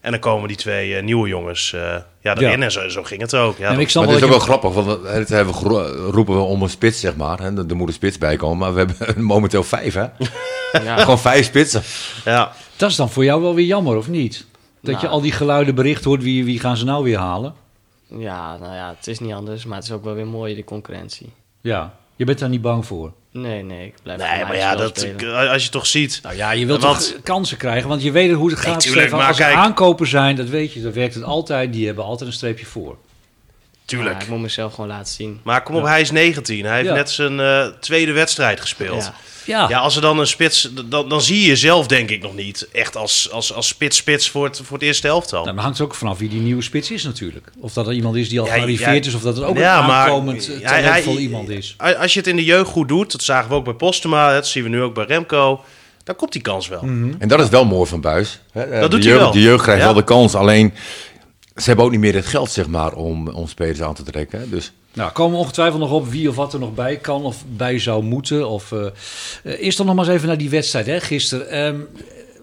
[SPEAKER 4] En dan komen die twee eh, nieuwe jongens eh, ja, erin.
[SPEAKER 2] Ja.
[SPEAKER 4] En zo, zo ging het ook. Ja,
[SPEAKER 2] En
[SPEAKER 4] dat-
[SPEAKER 2] ik snap
[SPEAKER 5] maar
[SPEAKER 2] wel
[SPEAKER 5] het is ook
[SPEAKER 2] dat je...
[SPEAKER 5] wel grappig, want het hebben we gero- roepen we om een spits, zeg maar. Hè? Er moet een spits bij komen, maar we hebben er momenteel vijf, hè?
[SPEAKER 3] Ja.
[SPEAKER 5] Gewoon vijf spitsen.
[SPEAKER 4] ja.
[SPEAKER 2] Dat is dan voor jou wel weer jammer, of niet? Dat
[SPEAKER 3] Nou.
[SPEAKER 2] je al die geluiden bericht hoort, wie, wie gaan ze nou weer halen?
[SPEAKER 3] ja, nou ja, het is niet anders, maar het is ook wel weer mooi, de concurrentie.
[SPEAKER 2] Ja, je bent daar niet bang voor.
[SPEAKER 3] Nee, nee, ik blijf
[SPEAKER 4] Nee,
[SPEAKER 3] voor
[SPEAKER 4] maar
[SPEAKER 3] mij
[SPEAKER 4] ja,
[SPEAKER 3] spel
[SPEAKER 4] dat, eh,
[SPEAKER 3] spelen.
[SPEAKER 4] als je toch ziet...
[SPEAKER 2] Nou ja, je wilt
[SPEAKER 4] Want-
[SPEAKER 2] toch kansen krijgen, want je weet hoe het gaat.
[SPEAKER 4] tuurlijk,
[SPEAKER 2] Stefan.
[SPEAKER 4] maar
[SPEAKER 2] Als er
[SPEAKER 4] kijk-
[SPEAKER 2] aankopen zijn, dat weet je, dat werkt het altijd. Die hebben altijd een streepje voor.
[SPEAKER 4] Tuurlijk.
[SPEAKER 3] Ja, ik moet mezelf gewoon laten zien.
[SPEAKER 4] Maar kom op, hij is 19. Hij heeft
[SPEAKER 2] Ja.
[SPEAKER 4] net zijn eh, tweede wedstrijd gespeeld.
[SPEAKER 3] Ja.
[SPEAKER 4] Ja.
[SPEAKER 2] Ja,
[SPEAKER 4] als er dan een spits... d- Dan, dan zie je jezelf denk ik nog niet echt als, als, als spits-spits voor het, voor het eerste helftal.
[SPEAKER 2] Nou, maar hangt er ook vanaf wie die nieuwe spits is natuurlijk. Of dat er iemand is die al
[SPEAKER 4] Ja,
[SPEAKER 2] gearriveerd
[SPEAKER 4] ja.
[SPEAKER 2] is, dus of dat er ook
[SPEAKER 4] Ja,
[SPEAKER 2] een
[SPEAKER 4] maar
[SPEAKER 2] aankomend eh,
[SPEAKER 4] hij-
[SPEAKER 2] talentvol
[SPEAKER 4] hij-
[SPEAKER 2] iemand is.
[SPEAKER 4] a- Als je het in de jeugd goed doet, dat zagen we ook bij Postema, dat zien we nu ook bij Remco, dan komt die kans wel.
[SPEAKER 2] Hmm.
[SPEAKER 5] En dat is wel mooi van Buis.
[SPEAKER 4] Mhm.
[SPEAKER 5] Eh,
[SPEAKER 4] Dat
[SPEAKER 5] de
[SPEAKER 4] doet hij
[SPEAKER 5] jeugd,
[SPEAKER 4] wel.
[SPEAKER 5] De jeugd krijgt
[SPEAKER 4] Ja.
[SPEAKER 5] wel de kans, alleen ze hebben ook niet meer het geld, zeg maar, om, om spelers aan te trekken. hè. Dus
[SPEAKER 2] Nou, komen we ongetwijfeld nog op wie of wat er nog bij kan of bij zou moeten. Of, eh, eh, eerst dan nog maar eens even naar die wedstrijd hè, gisteren. Ehm,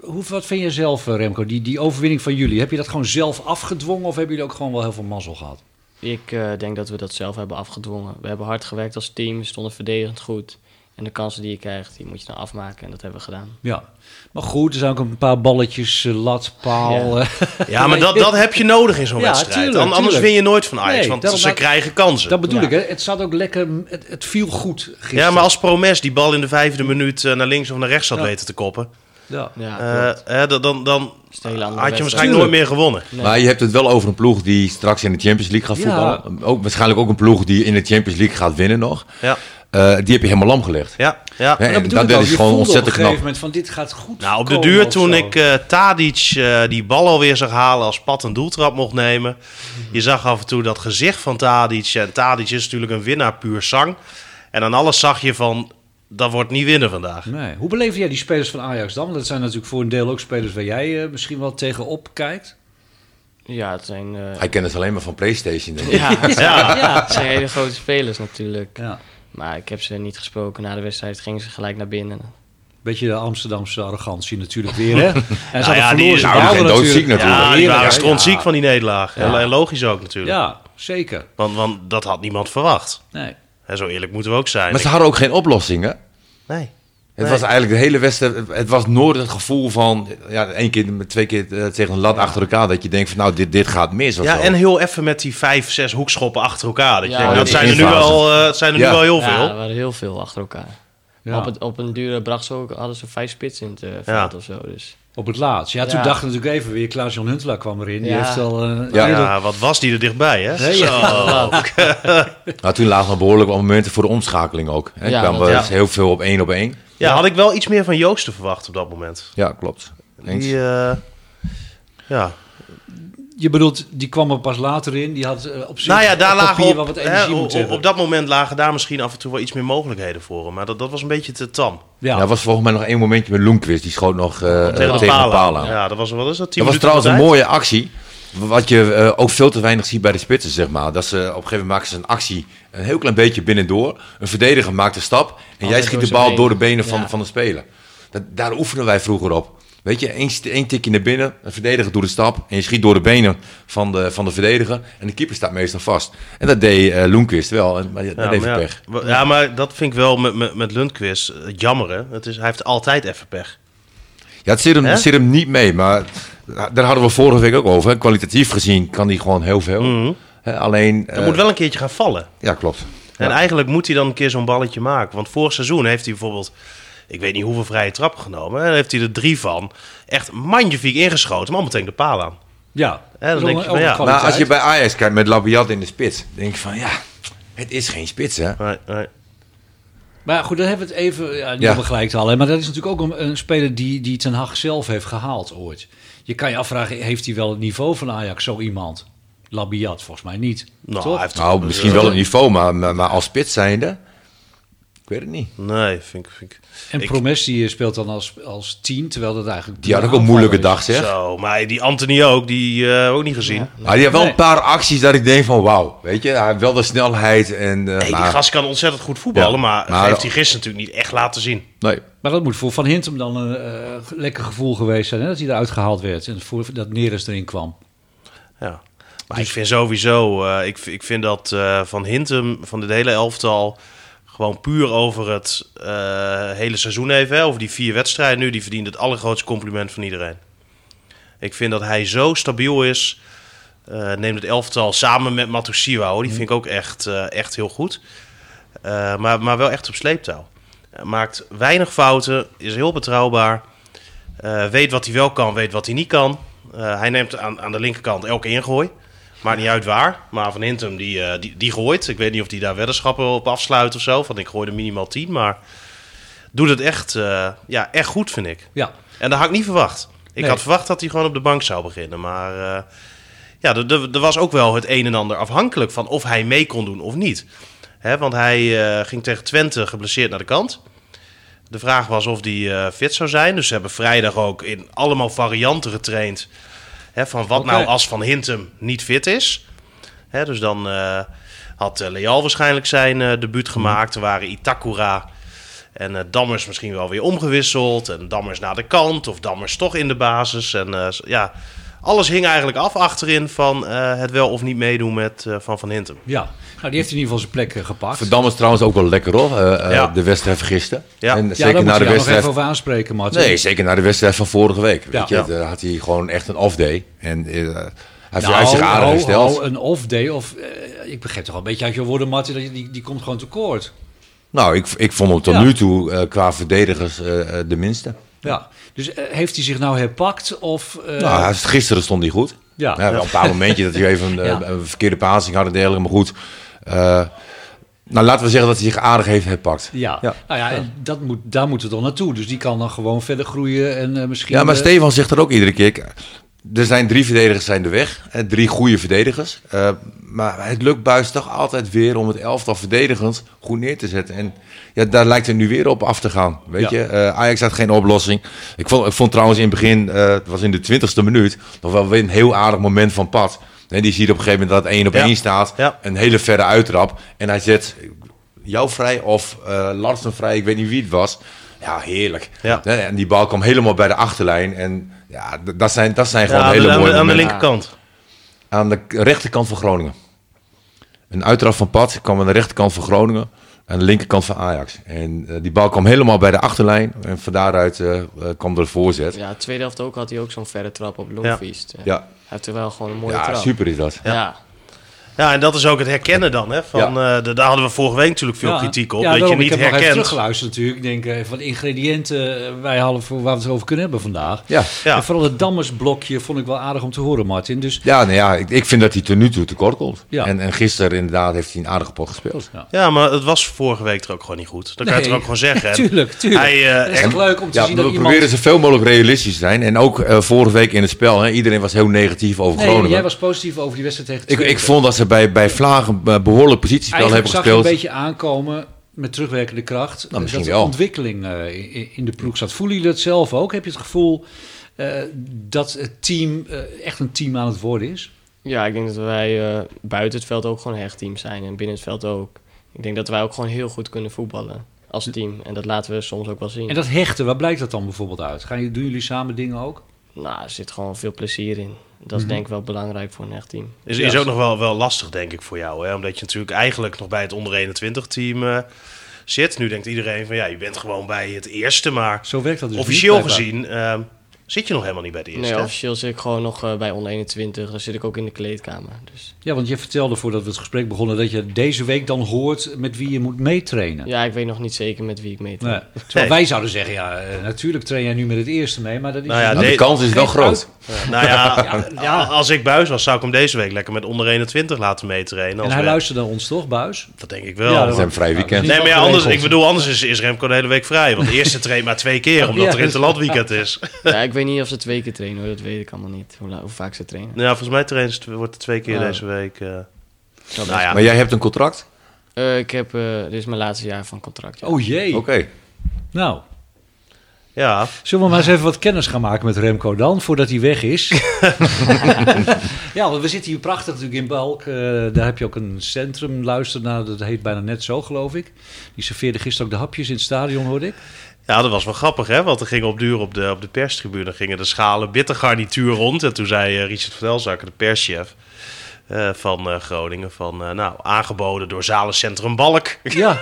[SPEAKER 2] hoe, wat vind je zelf, eh, Remco, die, die overwinning van jullie? Heb je dat gewoon zelf afgedwongen of hebben jullie ook gewoon wel heel veel mazzel gehad?
[SPEAKER 3] Ik eh, denk dat we dat zelf hebben afgedwongen. We hebben hard gewerkt als team, we stonden verdedigend goed. En de kansen die je krijgt, die moet je dan afmaken. En dat hebben we gedaan.
[SPEAKER 2] Ja, maar goed, er zijn ook een paar balletjes, eh, lat, paal. eh,
[SPEAKER 4] Ja, maar dat, dat heb je nodig in zo'n
[SPEAKER 2] Ja,
[SPEAKER 4] wedstrijd.
[SPEAKER 2] tuurlijk,
[SPEAKER 4] An- Anders
[SPEAKER 2] tuurlijk.
[SPEAKER 4] win je nooit van Ajax,
[SPEAKER 2] Nee,
[SPEAKER 4] want
[SPEAKER 2] daarom
[SPEAKER 4] ze
[SPEAKER 2] laat-
[SPEAKER 4] krijgen kansen.
[SPEAKER 2] dat bedoel
[SPEAKER 3] Ja.
[SPEAKER 2] ik, hè? Het zat ook lekker, het, het viel goed gisteren.
[SPEAKER 4] ja, maar als Promes die bal in de vijfde minuut eh, naar links of naar rechts had weten te koppen,
[SPEAKER 2] Ja.
[SPEAKER 3] Ja,
[SPEAKER 4] eh,
[SPEAKER 3] klopt.
[SPEAKER 4] hè, dan, dan, dan
[SPEAKER 3] is een
[SPEAKER 4] had
[SPEAKER 3] hele
[SPEAKER 4] je hem
[SPEAKER 3] andere
[SPEAKER 4] waarschijnlijk
[SPEAKER 3] wedstrijd.
[SPEAKER 4] nooit meer gewonnen.
[SPEAKER 5] Maar je hebt het wel over een ploeg die straks in de Champions League gaat
[SPEAKER 2] Ja.
[SPEAKER 5] voetballen. Ook, waarschijnlijk ook een ploeg die in de Champions League gaat winnen nog.
[SPEAKER 4] Ja,
[SPEAKER 5] Eh, die heb je helemaal lam gelegd.
[SPEAKER 4] ja, ja.
[SPEAKER 5] Hè,
[SPEAKER 2] Maar dat
[SPEAKER 5] en
[SPEAKER 2] bedoel
[SPEAKER 5] dat,
[SPEAKER 2] ik
[SPEAKER 5] dat
[SPEAKER 2] ook,
[SPEAKER 5] is
[SPEAKER 2] je
[SPEAKER 5] gewoon
[SPEAKER 2] voelde
[SPEAKER 5] ontzettend
[SPEAKER 2] op een gegeven
[SPEAKER 5] knap.
[SPEAKER 2] moment van dit gaat goed
[SPEAKER 4] Nou, op de
[SPEAKER 2] komen
[SPEAKER 4] duur
[SPEAKER 2] of
[SPEAKER 4] toen
[SPEAKER 2] zo.
[SPEAKER 4] ik eh Tadic eh, die bal alweer zag halen als pad een doeltrap mocht nemen.
[SPEAKER 2] Mhm.
[SPEAKER 4] Je zag af en toe dat gezicht van Tadic. En Tadic is natuurlijk een winnaar puur zang. En aan alles zag je van, dat wordt niet winnen vandaag.
[SPEAKER 2] Nee. Hoe beleef jij die spelers van Ajax dan? Want dat zijn natuurlijk voor een deel ook spelers waar jij eh, misschien wel tegenop kijkt.
[SPEAKER 3] ja het zijn... eh,
[SPEAKER 5] Hij kent het alleen maar van PlayStation. Denk ik.
[SPEAKER 3] Ja, het zijn,
[SPEAKER 4] Ja.
[SPEAKER 3] het zijn hele grote spelers natuurlijk.
[SPEAKER 2] Ja.
[SPEAKER 3] Maar ik heb ze niet gesproken. Na de wedstrijd gingen ze gelijk naar binnen.
[SPEAKER 2] Beetje de Amsterdamse arrogantie natuurlijk weer, hè? En
[SPEAKER 5] Nou
[SPEAKER 2] ze hadden
[SPEAKER 4] ja, die
[SPEAKER 2] verloren,
[SPEAKER 4] is
[SPEAKER 2] ze
[SPEAKER 4] ouder
[SPEAKER 2] baalden
[SPEAKER 5] en doodziek natuurlijk.
[SPEAKER 4] Ja, die
[SPEAKER 2] Heerlijk,
[SPEAKER 4] waren
[SPEAKER 2] hè?
[SPEAKER 4] strontziek
[SPEAKER 2] Ja.
[SPEAKER 4] van die nederlaag. En- En logisch ook natuurlijk.
[SPEAKER 2] Ja, zeker.
[SPEAKER 4] Want, want dat had niemand verwacht.
[SPEAKER 2] Nee.
[SPEAKER 4] En zo eerlijk moeten we ook zijn.
[SPEAKER 5] Maar ze hadden ook geen oplossingen.
[SPEAKER 4] Nee.
[SPEAKER 5] Het
[SPEAKER 4] Nee.
[SPEAKER 5] was eigenlijk de hele wedstrijd. Het was nooit het gevoel van. Ja, één keer, met twee keer eh, tegen een lat achter elkaar. Dat je denkt van nou, dit, dit gaat mis. Of
[SPEAKER 4] Ja,
[SPEAKER 5] zo.
[SPEAKER 4] en heel even met die vijf, zes hoekschoppen achter elkaar. Dat, je
[SPEAKER 3] Ja,
[SPEAKER 4] denkt,
[SPEAKER 3] dat
[SPEAKER 4] dat
[SPEAKER 3] is
[SPEAKER 4] zijn er nu
[SPEAKER 5] infase.
[SPEAKER 4] wel, eh, het zijn er
[SPEAKER 5] Ja.
[SPEAKER 4] nu wel heel
[SPEAKER 3] Ja, er
[SPEAKER 4] veel.
[SPEAKER 3] waren heel veel achter elkaar.
[SPEAKER 2] Ja.
[SPEAKER 3] Op, het, op een dure bracht ze ook, hadden ze vijf spits in het eh, veld of zo. Dus.
[SPEAKER 2] Op het laatst. Ja, toen
[SPEAKER 3] Ja.
[SPEAKER 2] dacht ik natuurlijk even weer, Klaas-Jan Huntelaar kwam erin. Die
[SPEAKER 3] Ja.
[SPEAKER 2] heeft al... eh,
[SPEAKER 5] Ja.
[SPEAKER 2] eerder-
[SPEAKER 4] Ja, wat was die er dichtbij, hè?
[SPEAKER 2] Hè, ja.
[SPEAKER 5] Nou, toen lagen er behoorlijk wat momenten voor de omschakeling ook. Hè.
[SPEAKER 3] Ja,
[SPEAKER 5] kwamen
[SPEAKER 3] dat-
[SPEAKER 5] we
[SPEAKER 4] ja.
[SPEAKER 5] heel veel op één op één.
[SPEAKER 4] Ja, had ik wel iets meer van Joost te verwachten op dat moment.
[SPEAKER 5] Ja, klopt. Eens.
[SPEAKER 4] Die, eh, ja.
[SPEAKER 2] Je bedoelt, die kwam er pas later in. Die had eh, op zich
[SPEAKER 4] Nou ja, daar
[SPEAKER 2] op
[SPEAKER 4] lagen
[SPEAKER 2] papier
[SPEAKER 4] op,
[SPEAKER 2] wel wat
[SPEAKER 4] hè,
[SPEAKER 2] energie
[SPEAKER 4] op-
[SPEAKER 2] moeten
[SPEAKER 4] op,
[SPEAKER 2] hebben.
[SPEAKER 4] op dat moment lagen daar misschien af en toe wel iets meer mogelijkheden voor hem. Maar dat, dat was een beetje te tam.
[SPEAKER 5] Ja,
[SPEAKER 2] Ja,
[SPEAKER 5] er was volgens mij nog één momentje met Loenquist. Die schoot nog eh, eh, tegen,
[SPEAKER 4] de
[SPEAKER 5] de paal aan.
[SPEAKER 4] Ja, dat was wel eens dat 10
[SPEAKER 5] Dat was
[SPEAKER 4] minuten
[SPEAKER 5] trouwens een
[SPEAKER 4] tijd.
[SPEAKER 5] mooie actie. Wat je eh, ook veel te weinig ziet bij de spitsen, zeg maar. Dat ze op een gegeven moment maken ze een actie een heel klein beetje binnendoor. Een verdediger maakt een stap en jij
[SPEAKER 3] door
[SPEAKER 5] schiet de
[SPEAKER 3] zijn
[SPEAKER 5] bal
[SPEAKER 3] been.
[SPEAKER 5] door de benen van,
[SPEAKER 3] Ja.
[SPEAKER 5] van de speler. Dat, daar oefenen wij vroeger op. Weet je, één, st- één tikje naar binnen, een verdediger doet een stap en je schiet door de benen van de, van de verdediger. En de keeper staat meestal vast. En dat deed eh Loenquist wel, en, maar dat
[SPEAKER 4] Ja,
[SPEAKER 5] deed
[SPEAKER 4] maar
[SPEAKER 5] hij
[SPEAKER 4] ja,
[SPEAKER 5] pech.
[SPEAKER 4] wa- ja, maar dat vind ik wel met, met, met Lundqvist eh, jammer. Hè? Het is, hij heeft altijd even pech.
[SPEAKER 5] Ja, het zit hem,
[SPEAKER 4] Hè?
[SPEAKER 5] het zit hem niet mee, maar eh, daar hadden we vorige week ook over. hè. Kwalitatief gezien kan hij gewoon heel veel. Hè, alleen,
[SPEAKER 4] Hij
[SPEAKER 5] eh,
[SPEAKER 4] Mhm. moet wel een keertje gaan vallen.
[SPEAKER 5] ja klopt.
[SPEAKER 4] En
[SPEAKER 5] Ja.
[SPEAKER 4] eigenlijk moet hij dan een keer zo'n balletje maken. Want vorig seizoen heeft hij bijvoorbeeld, ik weet niet hoeveel vrije trappen genomen. En daar heeft hij er drie van. Echt magnifiek ingeschoten, maar meteen de paal aan.
[SPEAKER 2] ja.
[SPEAKER 4] Hè, dan
[SPEAKER 2] Ook
[SPEAKER 4] denk
[SPEAKER 2] een-
[SPEAKER 4] je van,
[SPEAKER 2] ook een
[SPEAKER 4] ja.
[SPEAKER 2] kwaliteit.
[SPEAKER 5] Maar Nou, als je bij Ajax kijkt met Labiat in de spits, denk ik van ja, het is geen spits hè.
[SPEAKER 4] Nee, nee.
[SPEAKER 2] Maar goed, dan hebben we het even ja, niet
[SPEAKER 5] Ja.
[SPEAKER 2] begrijpt al. Hè? Maar dat is natuurlijk ook een, een speler die, die Ten Hag zelf heeft gehaald ooit. Je kan je afvragen, heeft hij wel het niveau van Ajax, zo iemand? Labiat, volgens mij niet.
[SPEAKER 4] Nou,
[SPEAKER 2] toch?
[SPEAKER 4] hij heeft-
[SPEAKER 5] Nou, misschien wel op niveau, maar, maar, maar als spits zijnde, ik weet het niet.
[SPEAKER 4] Nee, vind ik... Vind ik
[SPEAKER 2] En
[SPEAKER 4] ik-
[SPEAKER 2] Promes die speelt dan als, als tien, terwijl dat eigenlijk...
[SPEAKER 5] Die had ook
[SPEAKER 2] een
[SPEAKER 5] een moeilijke dag zeg.
[SPEAKER 4] Zo, maar die Anthony ook, die eh, ook niet gezien.
[SPEAKER 5] Maar die had wel
[SPEAKER 2] Nee.
[SPEAKER 5] een paar acties dat ik denk van wauw, weet je, hij had wel de snelheid en... eh,
[SPEAKER 4] Nee, die
[SPEAKER 5] maar-
[SPEAKER 4] gast kan ontzettend goed voetballen,
[SPEAKER 5] Ja,
[SPEAKER 4] maar,
[SPEAKER 5] maar-
[SPEAKER 4] heeft hij gisteren natuurlijk niet echt laten zien.
[SPEAKER 5] Nee.
[SPEAKER 2] Maar dat moet voor Van Hintem dan een eh, lekker gevoel geweest zijn, hè? dat hij eruit gehaald werd. En voor, dat Neres erin kwam.
[SPEAKER 4] Ja. Maar ik vind sowieso, eh, ik, ik vind dat eh, Van Hintem, van dit hele elftal, gewoon puur over het eh, hele seizoen even, hè, over die vier wedstrijden nu, die verdient het allergrootste compliment van iedereen. Ik vind dat hij zo stabiel is. Eh neemt het elftal samen met Matusiwa, hoor. die vind ik ook echt, eh, echt heel goed. Eh, maar, maar wel echt op sleeptouw. Eh, maakt weinig fouten, is heel betrouwbaar. Eh, weet wat hij wel kan, weet wat hij niet kan. Eh, hij neemt aan, aan de linkerkant elke ingooi. Maakt niet uit waar. Maar Van Hintem, die, eh, die, die gooit. Ik weet niet of hij daar weddenschappen op afsluit of zo. Van ik gooi er minimaal 10. Maar doet het echt, eh, ja, echt goed, vind ik.
[SPEAKER 2] Ja,
[SPEAKER 4] En dat had ik niet verwacht. Ik
[SPEAKER 2] Nee.
[SPEAKER 4] had verwacht dat hij gewoon op de bank zou beginnen. Maar eh, ja, er- er er was ook wel het een en ander afhankelijk van of hij mee kon doen of niet. Hè, want hij eh, ging tegen Twente geblesseerd naar de kant. De vraag was of hij eh, fit zou zijn. Dus ze hebben vrijdag ook in allemaal varianten getraind. Hè, van wat
[SPEAKER 2] Oké.
[SPEAKER 4] nou als Van Hintem niet fit is. Hè, dus dan eh, had eh, Leal waarschijnlijk zijn eh, debuut gemaakt. Er waren Itakura en eh, Dammers misschien wel weer omgewisseld. En Dammers naar de kant of Dammers toch in de basis. En eh, s- ja, alles hing eigenlijk af achterin van eh, het wel of niet meedoen met eh, Van Van Hintem.
[SPEAKER 2] ja. Nou, die heeft in ieder geval zijn plek eh, gepakt.
[SPEAKER 5] Verdam is trouwens ook wel lekker hoor, eh, eh,
[SPEAKER 4] Ja.
[SPEAKER 5] de wedstrijd van gisteren. En
[SPEAKER 4] Ja. Ja,
[SPEAKER 2] ja, daar
[SPEAKER 5] zeker
[SPEAKER 2] moet
[SPEAKER 5] na
[SPEAKER 2] je jou
[SPEAKER 5] de
[SPEAKER 2] nog
[SPEAKER 5] wedstrijd
[SPEAKER 2] even over aanspreken, Martin.
[SPEAKER 5] Nee, zeker na de wedstrijd van vorige week. Weet
[SPEAKER 2] Ja.
[SPEAKER 5] je,
[SPEAKER 2] Ja.
[SPEAKER 5] daar had hij gewoon echt een off day. En eh, hij heeft
[SPEAKER 2] Nou,
[SPEAKER 5] hij heeft zich aardig
[SPEAKER 2] nou,
[SPEAKER 5] gesteld.
[SPEAKER 2] nou, een off day of... eh, ik begrijp toch wel een beetje uit je woorden, Martin, dat je- die, die komt gewoon tekort.
[SPEAKER 5] Nou, ik, ik vond hem tot
[SPEAKER 2] Ja.
[SPEAKER 5] nu toe eh, qua verdedigers eh, eh, de minste.
[SPEAKER 2] Ja, dus eh, heeft hij zich nou herpakt of... eh,
[SPEAKER 5] nou, hij- gisteren stond hij goed.
[SPEAKER 2] Ja.
[SPEAKER 5] wel een paar momentjes dat hij even eh,
[SPEAKER 2] Ja.
[SPEAKER 5] een verkeerde passing had en dergelijke. Maar goed, eh, nou laten we zeggen dat hij zich aardig heeft herpakt.
[SPEAKER 2] ja.
[SPEAKER 5] Ja.
[SPEAKER 2] nou ja, en dat moet, daar moeten we dan naartoe. Dus die kan dan gewoon verder groeien en eh, misschien...
[SPEAKER 5] Ja, maar
[SPEAKER 2] eh,
[SPEAKER 5] Stefan zegt er ook iedere keer. k- Er zijn drie verdedigers zijn er weg. hè, Drie goede verdedigers. Eh, maar het lukt Buis toch altijd weer om het elftal verdedigend goed neer te zetten. En ja, daar lijkt het nu weer op af te gaan. Weet
[SPEAKER 2] Ja.
[SPEAKER 5] je, Eh, Ajax had geen oplossing. Ik vond, ik vond trouwens in het begin, eh, het was in de twintigste minuut, nog wel weer een heel aardig moment van pad. En die ziet op een gegeven moment dat het één op
[SPEAKER 4] Ja.
[SPEAKER 5] één staat.
[SPEAKER 4] Ja.
[SPEAKER 5] Een hele verre uittrap. En hij zet jou vrij of eh Larsen vrij. Ik weet niet wie het was. Ja, heerlijk.
[SPEAKER 4] Ja.
[SPEAKER 5] Hè, En die bal kwam helemaal bij de achterlijn. En ja, d- dat zijn, dat zijn
[SPEAKER 4] Ja,
[SPEAKER 5] gewoon
[SPEAKER 4] aan,
[SPEAKER 5] hele
[SPEAKER 4] de, aan,
[SPEAKER 5] mooie
[SPEAKER 4] de, aan de
[SPEAKER 5] momenten.
[SPEAKER 4] linkerkant.
[SPEAKER 5] Aan de k- rechterkant van Groningen. Een uitrap van Pat kwam aan de rechterkant van Groningen. Aan de linkerkant van Ajax. En eh, die bal kwam helemaal bij de achterlijn. En van daaruit eh, eh, kwam er een voorzet. Ja,
[SPEAKER 3] Ja, tweede helft ook had hij ook zo'n verre trap op Longfeast.
[SPEAKER 5] ja.
[SPEAKER 3] Hij heeft er wel gewoon een mooie trap.
[SPEAKER 5] super is dat.
[SPEAKER 3] Ja.
[SPEAKER 4] Ja, en dat is ook het herkennen dan. Hè, van, eh, de- daar hadden we vorige week natuurlijk veel kritiek op.
[SPEAKER 2] Ja,
[SPEAKER 4] dat je
[SPEAKER 2] daarom, ik
[SPEAKER 4] niet
[SPEAKER 2] heb nog even
[SPEAKER 4] herkent.
[SPEAKER 2] teruggeluisterd natuurlijk. Ik denk eh, van de ingrediënten eh, wij hadden voor, waar we het over kunnen hebben vandaag.
[SPEAKER 5] Ja.
[SPEAKER 4] Ja.
[SPEAKER 2] En vooral het dammersblokje vond ik wel aardig om te horen, Martin. Dus
[SPEAKER 5] Ja, nou ja, ik, ik vind dat hij ten nu toe tekort komt.
[SPEAKER 2] Ja.
[SPEAKER 5] En, en gisteren inderdaad heeft hij een aardige pot gespeeld.
[SPEAKER 4] Ja, maar het was vorige week er ook gewoon niet goed. Dat kan je
[SPEAKER 2] Nee.
[SPEAKER 4] het er ook gewoon zeggen. En
[SPEAKER 2] tuurlijk, tuurlijk.
[SPEAKER 4] Hij, eh,
[SPEAKER 2] het is
[SPEAKER 4] en-
[SPEAKER 2] echt leuk om te
[SPEAKER 5] Ja,
[SPEAKER 2] zien
[SPEAKER 5] we
[SPEAKER 2] dat iemand...
[SPEAKER 5] proberen zoveel mogelijk realistisch te zijn. En ook eh, vorige week in het spel, hè, iedereen was heel negatief over
[SPEAKER 2] Nee,
[SPEAKER 5] Groningen.
[SPEAKER 2] jij was positief over die wedstrijd tegen
[SPEAKER 5] ik,
[SPEAKER 2] Twente.
[SPEAKER 5] ik vond dat ze bij, bij Vlagen eh, behoorlijk positiespel
[SPEAKER 2] Eigenlijk zag
[SPEAKER 5] hebben
[SPEAKER 2] je een
[SPEAKER 5] gespeeld.
[SPEAKER 2] beetje aankomen met terugwerkende kracht.
[SPEAKER 5] Nou, misschien
[SPEAKER 2] dat de
[SPEAKER 5] wel.
[SPEAKER 2] ontwikkeling eh, in- in de ploeg zat. Voelen jullie dat zelf ook? Heb je het gevoel eh, dat het team eh, echt een team aan het worden is?
[SPEAKER 3] Ja, ik denk dat wij eh, buiten het veld ook gewoon een hecht team zijn en binnen het veld ook. Ik denk dat wij ook gewoon heel goed kunnen voetballen als team. En dat laten we soms ook wel zien.
[SPEAKER 2] En dat hechten, waar blijkt dat dan bijvoorbeeld uit? Gaan, jullie- doen jullie samen dingen ook?
[SPEAKER 3] Nou, er zit gewoon veel plezier in. Dat
[SPEAKER 2] Mhm.
[SPEAKER 3] is denk ik wel belangrijk voor een hecht team.
[SPEAKER 4] Is,
[SPEAKER 2] Ja.
[SPEAKER 4] is ook nog wel, wel lastig, denk ik, voor jou. Hè? Omdat je natuurlijk eigenlijk nog bij het onder 21-team zit. Nu denkt iedereen van ja, je bent gewoon bij het eerste. Maar
[SPEAKER 2] Zo werkt dat dus
[SPEAKER 4] officieel
[SPEAKER 2] niet, blijkbaar.
[SPEAKER 4] gezien ehm, zit je nog helemaal niet bij het eerste.
[SPEAKER 3] Nee,
[SPEAKER 4] hè?
[SPEAKER 3] officieel zit ik gewoon nog eh, bij onder 21. Dan zit ik ook in de kleedkamer. Dus
[SPEAKER 2] Ja, want je vertelde voordat we het gesprek begonnen... dat je deze week dan hoort met wie je moet meetrainen.
[SPEAKER 3] ja, ik weet nog niet zeker met wie ik meet.
[SPEAKER 2] Nee. Terwijl wij zouden zeggen, ja, eh, natuurlijk train jij nu met het eerste mee... maar dat is
[SPEAKER 4] Nou ja,
[SPEAKER 2] dus
[SPEAKER 5] Nou, de
[SPEAKER 4] Nee.
[SPEAKER 5] kans is wel
[SPEAKER 2] Geen
[SPEAKER 5] groot.
[SPEAKER 4] Nou ja, a- als ik buis was, zou ik hem deze week lekker met onder 21 laten meetrainen.
[SPEAKER 2] En
[SPEAKER 4] Als
[SPEAKER 2] hij
[SPEAKER 4] we-
[SPEAKER 2] luistert naar ons toch, Buis?
[SPEAKER 4] Dat denk ik wel.
[SPEAKER 2] Ja,
[SPEAKER 5] Dat
[SPEAKER 2] dat-
[SPEAKER 5] zijn vrij weekend.
[SPEAKER 4] Nee, maar ja,
[SPEAKER 2] wel
[SPEAKER 4] anders, ik
[SPEAKER 2] geregeld.
[SPEAKER 4] bedoel, anders is, is Remco de hele week vrij. Want de eerste traint maar twee keer, omdat
[SPEAKER 2] Ja,
[SPEAKER 4] er interlandweekend is.
[SPEAKER 3] Ja, ik weet niet of ze twee keer trainen hoor. Dat weet ik allemaal niet. Hoe, la- hoe vaak ze trainen.
[SPEAKER 4] Nou, volgens mij trainen ze, wordt het twee keer
[SPEAKER 3] Ja.
[SPEAKER 4] deze week. eh.
[SPEAKER 3] Dat
[SPEAKER 4] nou ja,
[SPEAKER 5] Maar jij hebt een contract?
[SPEAKER 3] Eh, ik heb, eh, dit is mijn laatste jaar van contract. ja.
[SPEAKER 2] Oh jee.
[SPEAKER 5] Oké.
[SPEAKER 2] Nou,
[SPEAKER 4] ja.
[SPEAKER 2] zullen we maar eens even wat kennis gaan maken met Remco dan... voordat hij weg is? ja, want we zitten hier prachtig natuurlijk in Balk. Eh, daar heb je ook een centrum, luister naar. Dat heet bijna net zo, geloof ik. Die serveerde gisteren ook de hapjes in het stadion, hoorde ik.
[SPEAKER 4] Ja, dat was wel grappig, hè? Want er gingen op duur op de, op de perstribune gingen de schalen bittergarnituur rond. En toen zei eh, Richard Verdelzakker, de perschef eh, van eh, Groningen, van eh, nou, aangeboden door zalencentrum Balk.
[SPEAKER 2] Ja,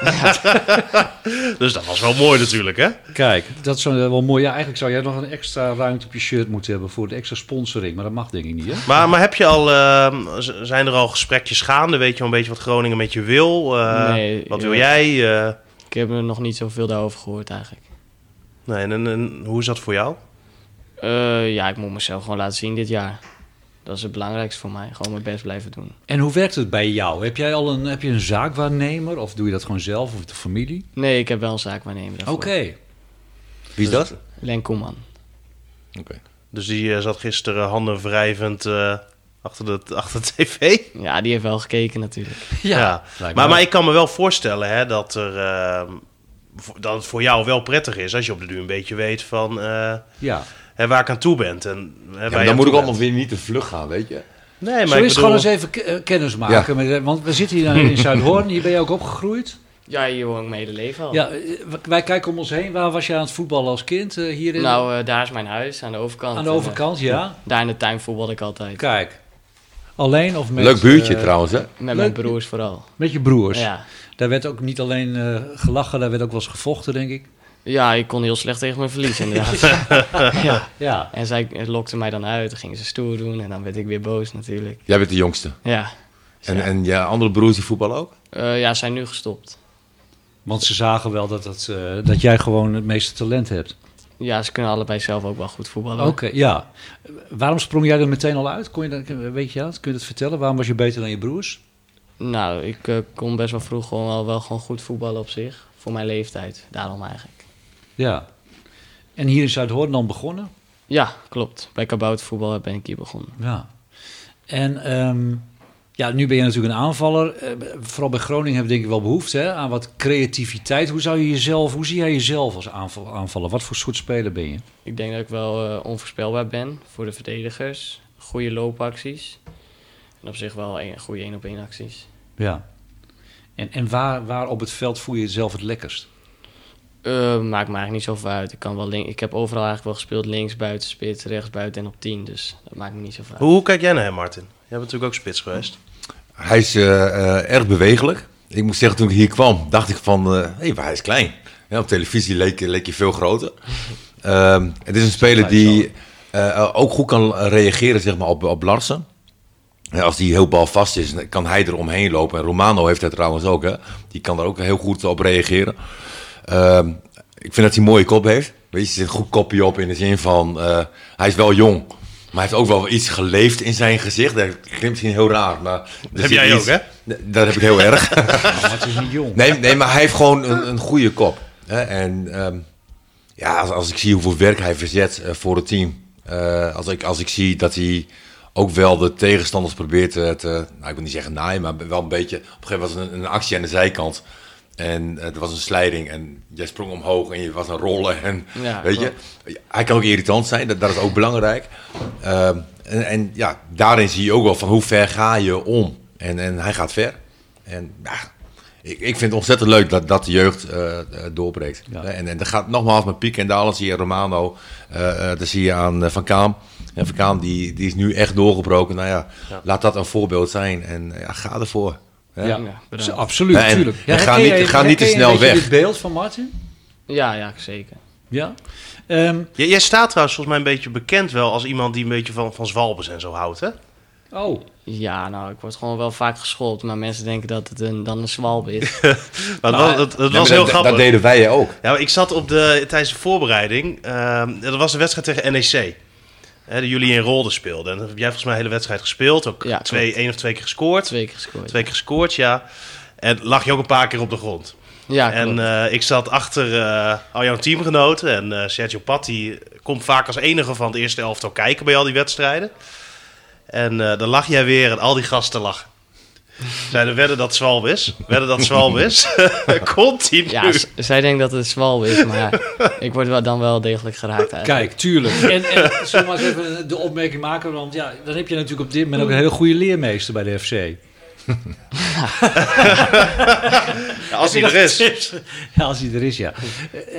[SPEAKER 4] Dus dat was wel mooi natuurlijk, hè?
[SPEAKER 2] Kijk, dat is wel mooi. Ja, eigenlijk zou jij nog een extra ruimte op je shirt moeten hebben voor de extra sponsoring. Maar dat mag denk ik niet, hè?
[SPEAKER 4] Maar, maar heb je al, eh, z- zijn er al gesprekjes gaande? Weet je wel een beetje wat Groningen met je wil? Eh,
[SPEAKER 3] Nee,
[SPEAKER 4] wat
[SPEAKER 3] ja.
[SPEAKER 4] wil jij? Eh,
[SPEAKER 3] Ik heb er nog niet zoveel daarover gehoord eigenlijk.
[SPEAKER 4] nee, en, en- en hoe is dat voor jou?
[SPEAKER 3] Eh, ja, ik moet mezelf gewoon laten zien dit jaar. Dat is het belangrijkste voor mij. Gewoon mijn best blijven doen.
[SPEAKER 2] En hoe werkt het bij jou? Heb jij al een, heb je een zaakwaarnemer? Of doe je dat gewoon zelf of de familie?
[SPEAKER 3] Nee, ik heb wel een zaak waarnemen
[SPEAKER 2] Oké.
[SPEAKER 3] daarvoor.
[SPEAKER 5] Wie is dat?
[SPEAKER 3] Len Koeman.
[SPEAKER 5] Oké.
[SPEAKER 4] Dus die eh, zat gisteren handen wrijvend eh, achter, de, achter de tv.
[SPEAKER 3] Ja, die heeft wel gekeken natuurlijk.
[SPEAKER 2] Ja.
[SPEAKER 4] Maar,
[SPEAKER 2] lijkt
[SPEAKER 4] maar,
[SPEAKER 2] me wel.
[SPEAKER 4] ik kan me wel voorstellen hè, dat, er, ehm, vo- dat het voor jou wel prettig is als je op de duur een beetje weet van eh,
[SPEAKER 2] Ja.
[SPEAKER 4] hè, waar ik aan toe bent. En, hè, waar
[SPEAKER 5] Ja,
[SPEAKER 4] je
[SPEAKER 5] maar
[SPEAKER 4] aan
[SPEAKER 5] dan moet ik
[SPEAKER 4] toe
[SPEAKER 5] allemaal weer niet te vlug gaan, weet je.
[SPEAKER 4] bent. Nee,
[SPEAKER 2] Zo
[SPEAKER 4] maar ik
[SPEAKER 2] is
[SPEAKER 4] bedoel,
[SPEAKER 2] gewoon eens even k- eh, kennis maken. Met, eh, want we zitten hier dan in Zuidhoorn. Hier ben je ook opgegroeid.
[SPEAKER 3] Ja, hier woon ik mijn hele leven al.
[SPEAKER 2] Ja, eh, w- wij kijken om ons heen. Waar was je aan het voetballen als kind? Eh, Hier in,
[SPEAKER 3] Nou, eh, daar is mijn huis, aan de overkant.
[SPEAKER 2] aan de
[SPEAKER 3] En,
[SPEAKER 2] overkant, ja.
[SPEAKER 3] eh, daar in de tuin voetbal ik altijd.
[SPEAKER 2] Kijk. Alleen of met...
[SPEAKER 5] Leuk buurtje
[SPEAKER 2] eh,
[SPEAKER 5] trouwens, hè?
[SPEAKER 3] Met mijn
[SPEAKER 2] Leuk.
[SPEAKER 3] broers vooral.
[SPEAKER 2] met je broers.
[SPEAKER 3] Ja.
[SPEAKER 2] Daar werd ook niet alleen eh, gelachen. Daar werd ook wel eens gevochten, denk ik.
[SPEAKER 3] ja, ik kon heel slecht tegen mijn verlies inderdaad. ja.
[SPEAKER 2] Ja.
[SPEAKER 3] En zij lokte mij dan uit, dan gingen ze stoer doen en dan werd ik weer boos natuurlijk.
[SPEAKER 5] Jij bent de jongste.
[SPEAKER 3] Ja,
[SPEAKER 5] En, en je andere broers die voetballen ook?
[SPEAKER 3] Eh, ja ze zijn nu gestopt.
[SPEAKER 2] Want ze zagen wel dat, dat, eh, dat jij gewoon het meeste talent hebt.
[SPEAKER 3] Ja, ze kunnen allebei zelf ook wel goed voetballen.
[SPEAKER 2] Oké, ja. Waarom sprong jij er meteen al uit? Kon je dat, weet je dat? Kun je dat vertellen? Waarom was je beter dan je broers?
[SPEAKER 3] Nou, ik eh, kon best wel vroeg gewoon wel, wel gewoon goed voetballen op zich. Voor mijn leeftijd, daarom eigenlijk.
[SPEAKER 2] Ja. En hier in Zuidhoorn dan begonnen?
[SPEAKER 3] Ja, klopt. Bij kaboutervoetbal ben ik hier begonnen.
[SPEAKER 2] Ja. En ehm, ja, nu ben je natuurlijk een aanvaller. Eh, vooral bij Groningen hebben we denk ik wel behoefte hè, aan wat creativiteit. Hoe zou je jezelf, hoe zie jij jezelf als aanval, aanvaller? Wat voor soort speler ben je?
[SPEAKER 3] Ik denk dat ik wel eh, onvoorspelbaar ben voor de verdedigers. Goede loopacties. En op zich wel een, goede één op één acties.
[SPEAKER 2] Ja. En, en waar, waar op het veld voel je jezelf het lekkerst?
[SPEAKER 3] Eh, maakt me eigenlijk niet zoveel uit. Ik, kan wel link- ik heb overal eigenlijk wel gespeeld. Links, buiten, spits, rechts, buiten en op 10. Dus dat maakt me niet zoveel uit.
[SPEAKER 4] hoe, hoe kijk jij naar hem, Martin? Jij bent natuurlijk ook spits geweest.
[SPEAKER 5] Hij is eh, eh, erg bewegelijk. Ik moet zeggen, toen ik hier kwam, dacht ik van, eh, hé, maar hij is klein. Ja, op televisie leek, leek hij veel groter. Ehm, het is een speler die eh, eh, ook goed kan reageren zeg maar, op, op Larsen. En als die heel bal vast is, dan kan hij er omheen lopen. En Romano heeft dat trouwens ook. Hè? Die kan er ook heel goed op reageren. Ehm, ik vind dat hij een mooie kop heeft. Weet je, er zit een goed kopje op in de zin van... eh, hij is wel jong, maar hij heeft ook wel iets geleefd in zijn gezicht. Dat klinkt misschien heel raar, maar... er zit
[SPEAKER 4] jij
[SPEAKER 5] iets-
[SPEAKER 4] ook, hè?
[SPEAKER 5] Dat heb ik heel erg.
[SPEAKER 2] Maar het Nou, is niet jong.
[SPEAKER 5] Nee, nee, maar hij heeft gewoon een, een goede kop. Hè? En ehm, ja, als, als ik zie hoeveel werk hij verzet eh, voor het team. eh, als, ik, als ik zie dat hij ook wel de tegenstanders probeert eh, te... Nou, ik wil niet zeggen naaien, maar wel een beetje... Op een gegeven moment was er een, een actie aan de zijkant. En eh, er was een slijding en jij sprong omhoog en je was aan het rollen. En,
[SPEAKER 3] Ja,
[SPEAKER 5] weet je, hij kan ook irritant zijn, dat, dat is ook belangrijk. Ehm, en, en ja, daarin zie je ook wel van hoe ver ga je om. En, en hij gaat ver. En ja, ik, ik vind het ontzettend leuk dat, dat de jeugd eh, eh, doorbreekt.
[SPEAKER 2] Ja.
[SPEAKER 5] En, en dat gaat nogmaals met Piek en Dalen, zie je Romano, eh eh, dat zie je aan eh, Van Kaam. En Van Kaam die, die is nu echt doorgebroken. Nou ja, laat dat een voorbeeld zijn en eh, ja, ga ervoor. Hè?
[SPEAKER 2] Ja,
[SPEAKER 3] Ja,
[SPEAKER 2] Dus
[SPEAKER 3] bedankt.
[SPEAKER 2] absoluut,
[SPEAKER 5] Ja, en-
[SPEAKER 2] natuurlijk.
[SPEAKER 5] en ga niet- ga niet te snel weg.
[SPEAKER 2] dit beeld van Martin?
[SPEAKER 3] Ja, ja, zeker.
[SPEAKER 2] Ja. Ehm,
[SPEAKER 4] J- jij staat trouwens volgens mij een beetje bekend wel als iemand die een beetje van, van zwalbes en zo houdt, hè?
[SPEAKER 2] oh,
[SPEAKER 3] Ja, nou, ik word gewoon wel vaak geschoold, maar mensen denken dat het een, dan een zwalb is.
[SPEAKER 4] Maar het was, het, het
[SPEAKER 5] Ja, Nou, maar
[SPEAKER 4] was heel
[SPEAKER 5] dat,
[SPEAKER 4] grappig.
[SPEAKER 5] Dat deden wij ook.
[SPEAKER 4] Ja, maar ik zat op de, tijdens de voorbereiding. ehm, dat was de wedstrijd tegen NEC. Hè, die jullie in Rolde speelden. En dat heb jij volgens mij de hele wedstrijd gespeeld. Ook
[SPEAKER 3] Ja,
[SPEAKER 4] twee, één of twee keer gescoord.
[SPEAKER 3] Twee keer gescoord.
[SPEAKER 4] Twee keer gescoord, ja. En lag je ook een paar keer op de grond.
[SPEAKER 3] Ja, klopt.
[SPEAKER 4] en eh, ik zat achter eh, al jouw teamgenoten. En eh, Sergio Patti komt vaak als enige van het eerste elftal kijken bij al die wedstrijden. En eh, dan lag jij weer en al die gasten lachen. Zeiden, wedden dat Zwalb is. Wedden dat Zwalb is. Continu.
[SPEAKER 3] Ja, z- zij denkt dat het een zwalb is, maar ik word wel, dan wel degelijk geraakt eigenlijk.
[SPEAKER 2] kijk, tuurlijk. En, en zullen we maar eens even de opmerking maken, want ja, dan heb je natuurlijk op dit moment ook een hele goede leermeester bij de FC.
[SPEAKER 4] Ja, als hij er is.
[SPEAKER 2] Ja, als hij er is, ja. Eh,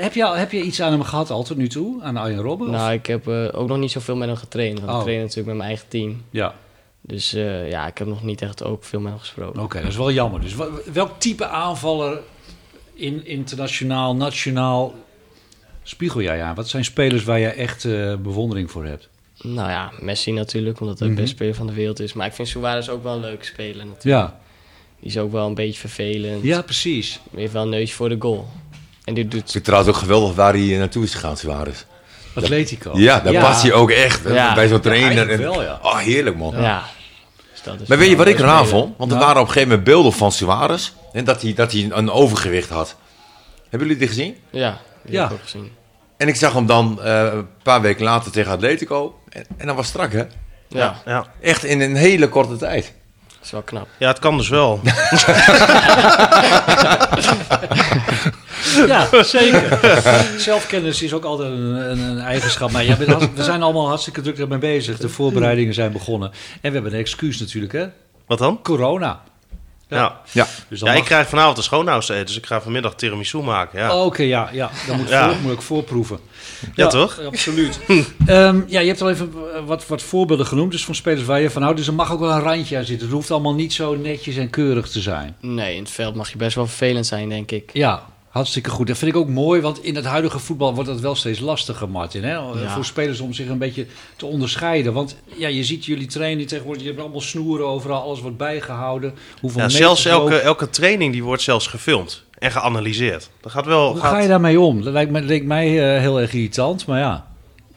[SPEAKER 2] Heb je, al- heb je iets aan hem gehad al tot nu toe? Aan Arjen Robben? of-
[SPEAKER 3] Nou, ik heb eh, ook nog niet zoveel met hem getraind, want
[SPEAKER 2] Oh.
[SPEAKER 3] ik train natuurlijk met mijn eigen team.
[SPEAKER 2] Ja,
[SPEAKER 3] Dus eh, ja, ik heb nog niet echt ook veel met hem gesproken.
[SPEAKER 2] oké, dat is wel jammer. Dus wa- welk type aanvaller in internationaal, nationaal spiegel jij aan? Wat zijn spelers waar jij echt eh, bewondering voor hebt?
[SPEAKER 3] Nou ja, Messi natuurlijk, omdat hij de beste speler van de wereld is. Maar ik vind Suarez ook wel een leuk speler natuurlijk.
[SPEAKER 2] Ja,
[SPEAKER 3] Die is ook wel een beetje vervelend.
[SPEAKER 2] ja precies.
[SPEAKER 3] Heeft wel een neusje voor de goal. En dit
[SPEAKER 5] Ik
[SPEAKER 3] doet...
[SPEAKER 5] vind het trouwens ook geweldig waar hij eh, naartoe is gegaan, Suarez.
[SPEAKER 2] Atletico.
[SPEAKER 5] Ja, daar past hij ook echt. hè,
[SPEAKER 3] Ja.
[SPEAKER 5] Bij zo'n
[SPEAKER 2] Ja,
[SPEAKER 5] trainer. en,
[SPEAKER 2] eigenlijk wel, ja.
[SPEAKER 5] Oh, heerlijk man.
[SPEAKER 3] Ja. Dus dat is
[SPEAKER 5] Maar weet je
[SPEAKER 3] wel
[SPEAKER 5] wat ik
[SPEAKER 3] een
[SPEAKER 5] raar
[SPEAKER 3] speler.
[SPEAKER 5] vond? Want er waren op een gegeven moment beelden van Suarez. En dat hij, dat hij een overgewicht had. Hebben jullie die gezien?
[SPEAKER 3] eh, Ja, die
[SPEAKER 2] Ja.
[SPEAKER 3] heb ik ook gezien.
[SPEAKER 5] En ik zag hem dan eh, een paar weken later tegen Atletico. En, en dat was strak, hè?
[SPEAKER 3] Ja,
[SPEAKER 4] Ja.
[SPEAKER 5] Echt in een hele korte tijd.
[SPEAKER 3] dat is wel knap.
[SPEAKER 4] ja, het kan dus wel.
[SPEAKER 2] Ja, zeker. Zelfkennis is ook altijd een, een, een eigenschap. Maar ja, we- we zijn allemaal hartstikke druk ermee bezig. De voorbereidingen zijn begonnen. En we hebben een excuus natuurlijk, hè?
[SPEAKER 4] Wat dan?
[SPEAKER 2] Corona. Ja.
[SPEAKER 4] Ja,
[SPEAKER 5] Ja.
[SPEAKER 2] Dus
[SPEAKER 4] ja
[SPEAKER 2] dan
[SPEAKER 4] ik
[SPEAKER 2] mag-
[SPEAKER 4] krijg vanavond een schoonhuis eten, dus ik ga vanmiddag tiramisu maken. Ja.
[SPEAKER 2] Oh, Oké, ja, ja, dan moet, ik
[SPEAKER 4] Ja.
[SPEAKER 2] Voor, moet ik voorproeven.
[SPEAKER 4] Ja, toch?
[SPEAKER 2] Absoluut. Ehm, ja, je hebt al even eh, wat, wat voorbeelden genoemd, dus van spelers waar je van houdt. Dus er mag ook wel een randje aan zitten. Het hoeft allemaal niet zo netjes en keurig te zijn.
[SPEAKER 3] Nee, in het veld mag je best wel vervelend zijn, denk ik.
[SPEAKER 2] Ja, hartstikke goed. Dat vind ik ook mooi, want in het huidige voetbal wordt dat wel steeds lastiger, Martin. Hè? Voor spelers om zich een beetje te onderscheiden. Want ja, je ziet jullie trainen tegenwoordig, je hebt allemaal snoeren overal, alles wordt bijgehouden. Hoeveel
[SPEAKER 4] Ja,
[SPEAKER 2] meters
[SPEAKER 4] zelfs elke,
[SPEAKER 2] lopen.
[SPEAKER 4] elke training die wordt zelfs gefilmd en geanalyseerd. Dat gaat wel.
[SPEAKER 2] Hoe
[SPEAKER 4] gaat-
[SPEAKER 2] ga je daarmee om? Dat lijkt, me, leek mij eh, heel erg irritant, maar ja,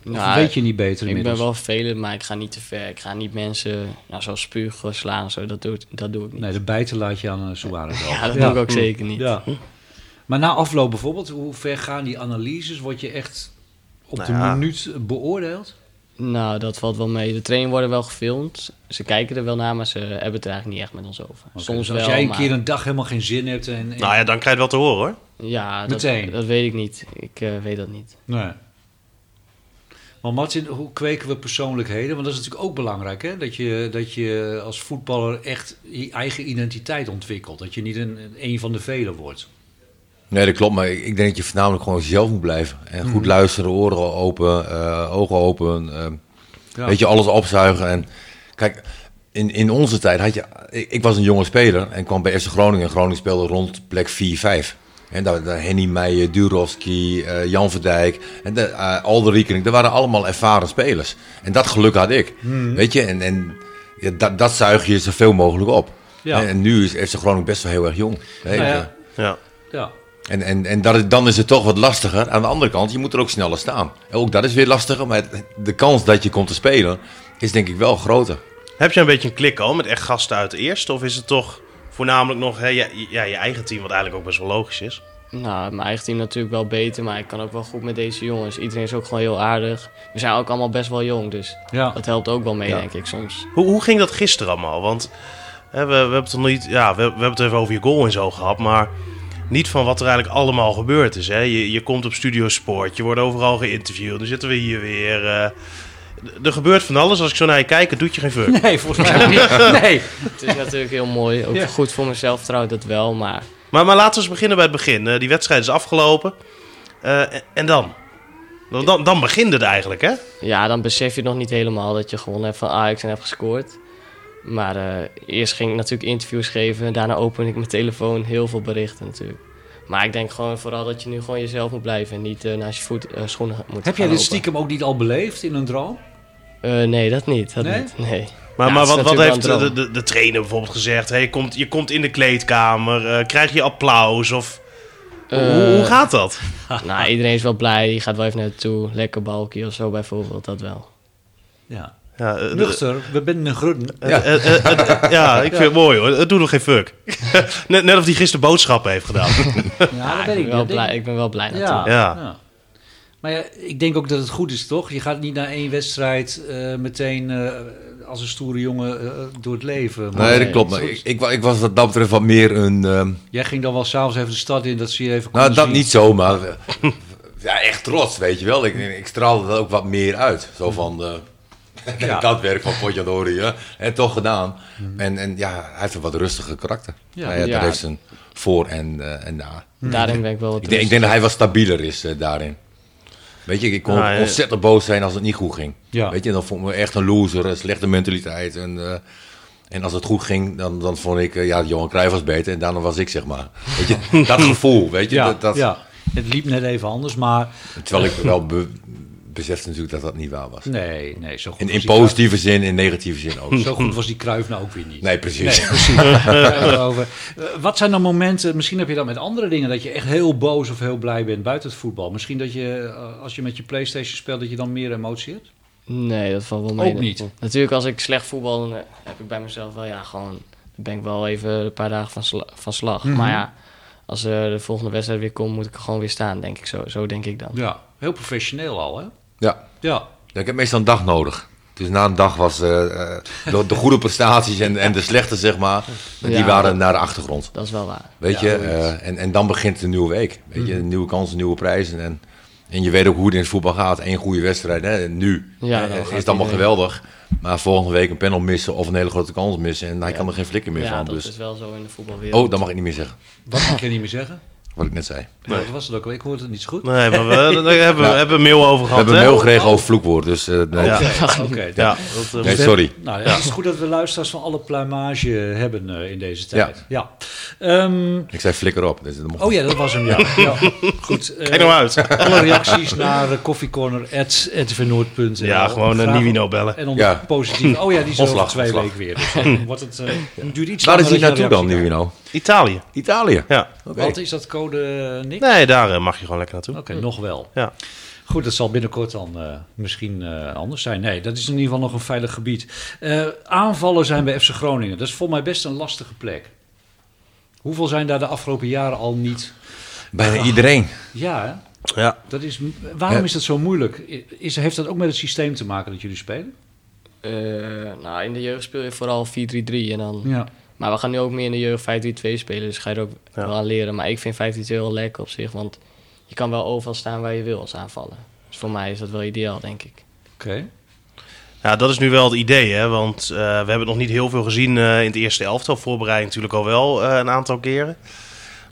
[SPEAKER 3] Nou,
[SPEAKER 2] weet je niet beter
[SPEAKER 3] Ik
[SPEAKER 2] inmiddels.
[SPEAKER 3] ben wel vervelend, maar ik ga niet te ver. Ik ga niet mensen nou, zoals spugen, slaan en zo. Dat doe, ik- dat doe ik niet.
[SPEAKER 2] Nee, de bijten laat je aan eh, Suarez over.
[SPEAKER 3] Ja, dat doe ik ook zeker niet.
[SPEAKER 2] Ja. Maar na afloop bijvoorbeeld, hoe ver gaan die analyses? Word je echt op de
[SPEAKER 4] Nou ja.
[SPEAKER 2] minuut beoordeeld?
[SPEAKER 3] Nou, dat valt wel mee. De trainingen worden wel gefilmd. Ze kijken er wel naar, maar ze hebben het er eigenlijk niet echt met ons over.
[SPEAKER 2] Oké,
[SPEAKER 3] Soms
[SPEAKER 2] dus
[SPEAKER 3] wel,
[SPEAKER 2] als jij een
[SPEAKER 3] maar-
[SPEAKER 2] keer een dag helemaal geen zin hebt en... en-
[SPEAKER 4] Nou ja, dan krijg je het wel te horen hoor.
[SPEAKER 3] Ja, dat,
[SPEAKER 2] Meteen.
[SPEAKER 3] dat weet ik niet. Ik eh, weet dat niet.
[SPEAKER 2] Nee. Maar Martin, hoe kweken we persoonlijkheden? Want dat is natuurlijk ook belangrijk, hè? Dat je, dat je als voetballer echt je eigen identiteit ontwikkelt. Dat je niet een, een van de velen wordt.
[SPEAKER 5] Nee, dat klopt. Maar ik ik denk dat je voornamelijk gewoon zelf moet blijven. En goed luisteren, oren open, eh, ogen open. eh,
[SPEAKER 2] Ja.
[SPEAKER 5] Weet je, alles opzuigen. En kijk, in, in onze tijd had je... Ik, ik was een jonge speler en kwam bij FC Groningen. En Groningen speelde rond plek 4-5. En daar, daar Henny Meijer, Durovski, eh, Jan Verdijk, en de,
[SPEAKER 2] Hmm.
[SPEAKER 5] eh Alderiekening. Dat waren allemaal ervaren spelers. En dat geluk had ik. Weet je, en, en ja, dat, dat zuig je zoveel mogelijk op.
[SPEAKER 2] Ja.
[SPEAKER 5] En, en nu is FC Groningen best wel heel erg jong. Hè?
[SPEAKER 2] Nou ja.
[SPEAKER 5] Dus, eh,
[SPEAKER 4] Ja.
[SPEAKER 2] Ja.
[SPEAKER 5] En, en, en dat is, dan is het toch wat lastiger. Aan de andere kant, je moet er ook sneller staan. En ook dat is weer lastiger, maar het- de kans dat je komt te spelen is denk ik wel groter.
[SPEAKER 4] Heb je een beetje een klik al met echt gasten uit de eerste? Of is het toch voornamelijk nog hè, je, ja, je eigen team, wat eigenlijk ook best wel logisch is?
[SPEAKER 3] Nou, mijn eigen team natuurlijk wel beter, maar ik kan ook wel goed met deze jongens. Iedereen is ook gewoon heel aardig. We zijn ook allemaal best wel jong, dus
[SPEAKER 2] Ah. Ja.
[SPEAKER 3] dat helpt ook wel mee,
[SPEAKER 5] Ja.
[SPEAKER 3] denk ik soms.
[SPEAKER 4] Hoe, hoe ging dat gisteren allemaal? Want hè, we, we hebben het nog niet. Ja, we, we hebben het even over je goal en zo gehad, maar niet van wat er eigenlijk allemaal gebeurd is. Hè? Je, je komt op Studio Sport, je wordt overal geïnterviewd, dan zitten we hier weer. eh, d- er gebeurt van alles. Als ik zo naar je kijk, het doet je geen fuck.
[SPEAKER 2] Nee, volgens mij niet. Nee.
[SPEAKER 3] Het is natuurlijk heel mooi, ook
[SPEAKER 2] Ja.
[SPEAKER 3] goed voor mezelf trouwens, dat wel, maar
[SPEAKER 4] Maar, maar laten we eens beginnen bij het begin. Eh, die wedstrijd is afgelopen. Eh, en, en dan? Dan, dan? dan begint het eigenlijk, hè?
[SPEAKER 3] ja, dan besef je nog niet helemaal dat je gewonnen hebt van Ajax en hebt gescoord. Maar eh, eerst ging ik natuurlijk interviews geven, daarna opende ik mijn telefoon, heel veel berichten natuurlijk. Maar ik denk gewoon vooral dat je nu gewoon jezelf moet blijven en niet eh, naast je voet, eh, schoenen moet gaan
[SPEAKER 2] Heb jij dus dit
[SPEAKER 3] lopen.
[SPEAKER 2] stiekem ook niet al beleefd in een droom?
[SPEAKER 3] Eh, nee, dat niet. Dat
[SPEAKER 2] Nee?
[SPEAKER 3] niet. nee.
[SPEAKER 4] Maar,
[SPEAKER 3] Ja,
[SPEAKER 4] maar
[SPEAKER 3] het is
[SPEAKER 4] wat, wat
[SPEAKER 3] natuurlijk
[SPEAKER 4] heeft
[SPEAKER 3] wel een
[SPEAKER 4] de, de, de trainer bijvoorbeeld gezegd? Hey, komt, je komt in de kleedkamer, eh, krijg je applaus? Of, hoe- hoe, hoe
[SPEAKER 3] Eh,
[SPEAKER 4] gaat dat?
[SPEAKER 3] Nou, iedereen is wel blij. Je gaat wel even naartoe. Lekker balkje of zo bijvoorbeeld, dat wel.
[SPEAKER 2] Ja.
[SPEAKER 4] Ja, eh, de-
[SPEAKER 2] Nuchter, we binnen een grudden.
[SPEAKER 5] Ja.
[SPEAKER 4] eh, eh, eh, eh, ja, ik vind het mooi hoor. Het doet nog geen fuck. net, net of hij gisteren boodschappen heeft gedaan.
[SPEAKER 2] Ja, dat weet
[SPEAKER 3] Ik
[SPEAKER 2] ik
[SPEAKER 3] ben wel
[SPEAKER 2] niet.
[SPEAKER 3] blij, ik ben wel blij
[SPEAKER 2] Ja.
[SPEAKER 3] naartoe.
[SPEAKER 4] Ja.
[SPEAKER 2] Maar ja, ik denk ook dat het goed is, toch? Je gaat niet na één wedstrijd eh, meteen eh, als een stoere jongen eh, door het leven. Maar
[SPEAKER 5] Nee, dat
[SPEAKER 3] nee,
[SPEAKER 5] klopt. Maar ik, ik, wa- ik was wat dat betreft wat meer een... ehm,
[SPEAKER 2] Jij ging dan wel s'avonds even de stad in, dat ze je even
[SPEAKER 5] nou,
[SPEAKER 2] konden
[SPEAKER 5] dat
[SPEAKER 2] zien.
[SPEAKER 5] niet zo, maar... eh, ja, echt trots, weet je wel. Ik, ik straalde dat ook wat meer uit. Zo van... eh
[SPEAKER 2] Ja.
[SPEAKER 5] Dat werk van Potjadori, hè. En toch gedaan. En, en ja, hij heeft een wat rustiger karakter.
[SPEAKER 2] Ja.
[SPEAKER 5] Nou Mm. ja,
[SPEAKER 3] Ja.
[SPEAKER 5] Daar heeft zijn voor en, eh, en na.
[SPEAKER 2] Hmm.
[SPEAKER 3] Daarin ben ik wel wat
[SPEAKER 5] Ik denk, ik denk dat hij wat stabieler is eh, daarin. Weet je, ik kon
[SPEAKER 4] Nou, ja.
[SPEAKER 5] ontzettend boos zijn als het niet goed ging.
[SPEAKER 2] Ja.
[SPEAKER 5] Weet je, dan vond ik me echt een loser, een slechte mentaliteit. En, eh, en als het goed ging, dan, dan vond ik, eh, ja, Johan Cruijff was beter en daarna was ik, zeg maar. Weet je, dat gevoel, weet je.
[SPEAKER 2] Ja,
[SPEAKER 5] dat, dat-
[SPEAKER 2] ja, het liep net even anders, maar
[SPEAKER 5] Terwijl ik wel be- besefte natuurlijk dat dat niet waar was.
[SPEAKER 2] nee, nee, zo goed
[SPEAKER 5] In,
[SPEAKER 2] was
[SPEAKER 5] in
[SPEAKER 2] die Cruijff-
[SPEAKER 5] positieve zin, in negatieve zin ook.
[SPEAKER 2] Zo goed was die kruif nou ook weer niet.
[SPEAKER 5] Nee, precies.
[SPEAKER 2] Nee, precies. Daar hebben we het over. Eh, Wat zijn dan momenten, misschien heb je dat met andere dingen, dat je echt heel boos of heel blij bent buiten het voetbal. Misschien dat je, eh, als je met je Playstation speelt, dat je dan meer emotie hebt?
[SPEAKER 3] Nee, dat valt wel mee.
[SPEAKER 2] Ook
[SPEAKER 3] Dat-
[SPEAKER 2] niet.
[SPEAKER 3] Natuurlijk, als ik slecht voetbal, dan eh, heb ik bij mezelf wel, ja, gewoon... Dan ben ik wel even een paar dagen van, sla- van slag.
[SPEAKER 2] Mhm.
[SPEAKER 3] Maar ja, als eh, de volgende wedstrijd weer komt, moet ik er gewoon weer staan, denk ik. Zo, zo denk ik dan.
[SPEAKER 2] Ja, heel professioneel al, hè?
[SPEAKER 5] Ja.
[SPEAKER 2] Ja,
[SPEAKER 5] Ja, ik heb meestal een dag nodig. Dus na een dag was eh, eh, de, de goede prestaties en, en de slechte, zeg maar, die
[SPEAKER 3] Ja.
[SPEAKER 5] waren naar de achtergrond.
[SPEAKER 3] Dat is wel waar.
[SPEAKER 5] Weet
[SPEAKER 2] Ja,
[SPEAKER 5] je, eh, en, en dan begint de nieuwe week. Weet je, nieuwe kansen, nieuwe prijzen. En, en je weet ook hoe het in het voetbal gaat. Eén goede wedstrijd, hè, nu
[SPEAKER 3] Ja,
[SPEAKER 5] eh,
[SPEAKER 3] dan
[SPEAKER 5] is
[SPEAKER 3] gaat
[SPEAKER 5] het allemaal
[SPEAKER 3] iedereen-
[SPEAKER 5] geweldig. Maar volgende week een panel missen of een hele grote kans missen. En hij
[SPEAKER 3] Ja.
[SPEAKER 5] kan er geen flikker meer
[SPEAKER 3] Ja,
[SPEAKER 5] van.
[SPEAKER 3] dat
[SPEAKER 5] Dus.
[SPEAKER 3] is wel zo in de voetbalwereld.
[SPEAKER 5] Oh, dat mag ik niet meer zeggen.
[SPEAKER 2] wat mag je niet meer zeggen?
[SPEAKER 5] Wat ik net zei.
[SPEAKER 2] Wat was het ook? alweer? Ik hoorde het niet zo goed.
[SPEAKER 4] Nee, maar we, daar hebben, we hebben mail over
[SPEAKER 5] We
[SPEAKER 4] gehad.
[SPEAKER 5] hebben een
[SPEAKER 4] hè? Oh.
[SPEAKER 5] mail gekregen over vloekwoord. Dus eh, nee.
[SPEAKER 4] Ja.
[SPEAKER 2] Oké, dat-
[SPEAKER 4] Ja, dat, eh,
[SPEAKER 5] nee, sorry.
[SPEAKER 2] Nou, het is goed dat we luisteraars van alle pluimage hebben eh, in deze tijd. Ja. Ehm,
[SPEAKER 5] Ik zei flikker op. Dus dat mocht
[SPEAKER 2] oh ja, dat was hem, ja. ja. Goed. eh,
[SPEAKER 4] Kijk nou uit.
[SPEAKER 2] alle reacties naar uh, koffiecorner.ntvnoord.nl
[SPEAKER 4] Ja, gewoon een
[SPEAKER 2] Graag-
[SPEAKER 4] Nivino bellen.
[SPEAKER 2] En onder
[SPEAKER 5] Ja.
[SPEAKER 2] positief. Oh ja, die is over
[SPEAKER 5] Ontslag,
[SPEAKER 2] twee
[SPEAKER 5] ontslag.
[SPEAKER 2] weken weer. Dus dan wordt het, eh, het duurt iets
[SPEAKER 5] Waar
[SPEAKER 2] langer
[SPEAKER 5] is hij
[SPEAKER 2] dat je
[SPEAKER 5] naartoe
[SPEAKER 2] een
[SPEAKER 5] dan
[SPEAKER 2] reactie
[SPEAKER 5] nu nou?
[SPEAKER 4] Italië.
[SPEAKER 5] Italië.
[SPEAKER 4] Ja.
[SPEAKER 5] Oké.
[SPEAKER 2] krijgt. Want is dat code eh, niks?
[SPEAKER 4] Nee, daar eh, mag je gewoon lekker
[SPEAKER 2] Oké,
[SPEAKER 4] naartoe.
[SPEAKER 2] nog wel.
[SPEAKER 4] Ja.
[SPEAKER 2] Goed, dat zal binnenkort dan eh, misschien eh, anders zijn. Nee, dat is in ieder geval nog een veilig gebied. Eh, aanvallen zijn bij FC Groningen. Dat is volgens mij best een lastige plek. Hoeveel zijn daar de afgelopen jaren al niet?
[SPEAKER 5] Bijna iedereen.
[SPEAKER 2] Ja, hè?
[SPEAKER 4] Ja.
[SPEAKER 2] dat is, waarom
[SPEAKER 5] Ja.
[SPEAKER 2] is dat zo moeilijk? Is, heeft dat ook met het systeem te maken dat jullie spelen?
[SPEAKER 3] Eh, nou, in de jeugd speel je vooral 4-3-3 en dan...
[SPEAKER 2] Ja.
[SPEAKER 3] Maar we gaan nu ook meer in de jeugd 5-3-2 spelen, dus ga je er ook
[SPEAKER 4] Ja.
[SPEAKER 3] wel aan leren. Maar ik vind 5-3-2 wel lekker op zich, want je kan wel overal staan waar je wil als aanvallen. Dus voor mij is dat wel ideaal, denk ik.
[SPEAKER 2] Oké.
[SPEAKER 4] Ja, dat is nu wel het idee, hè? want eh, we hebben nog niet heel veel gezien eh, in het eerste elftal. Voorbereiding natuurlijk al wel eh, een aantal keren.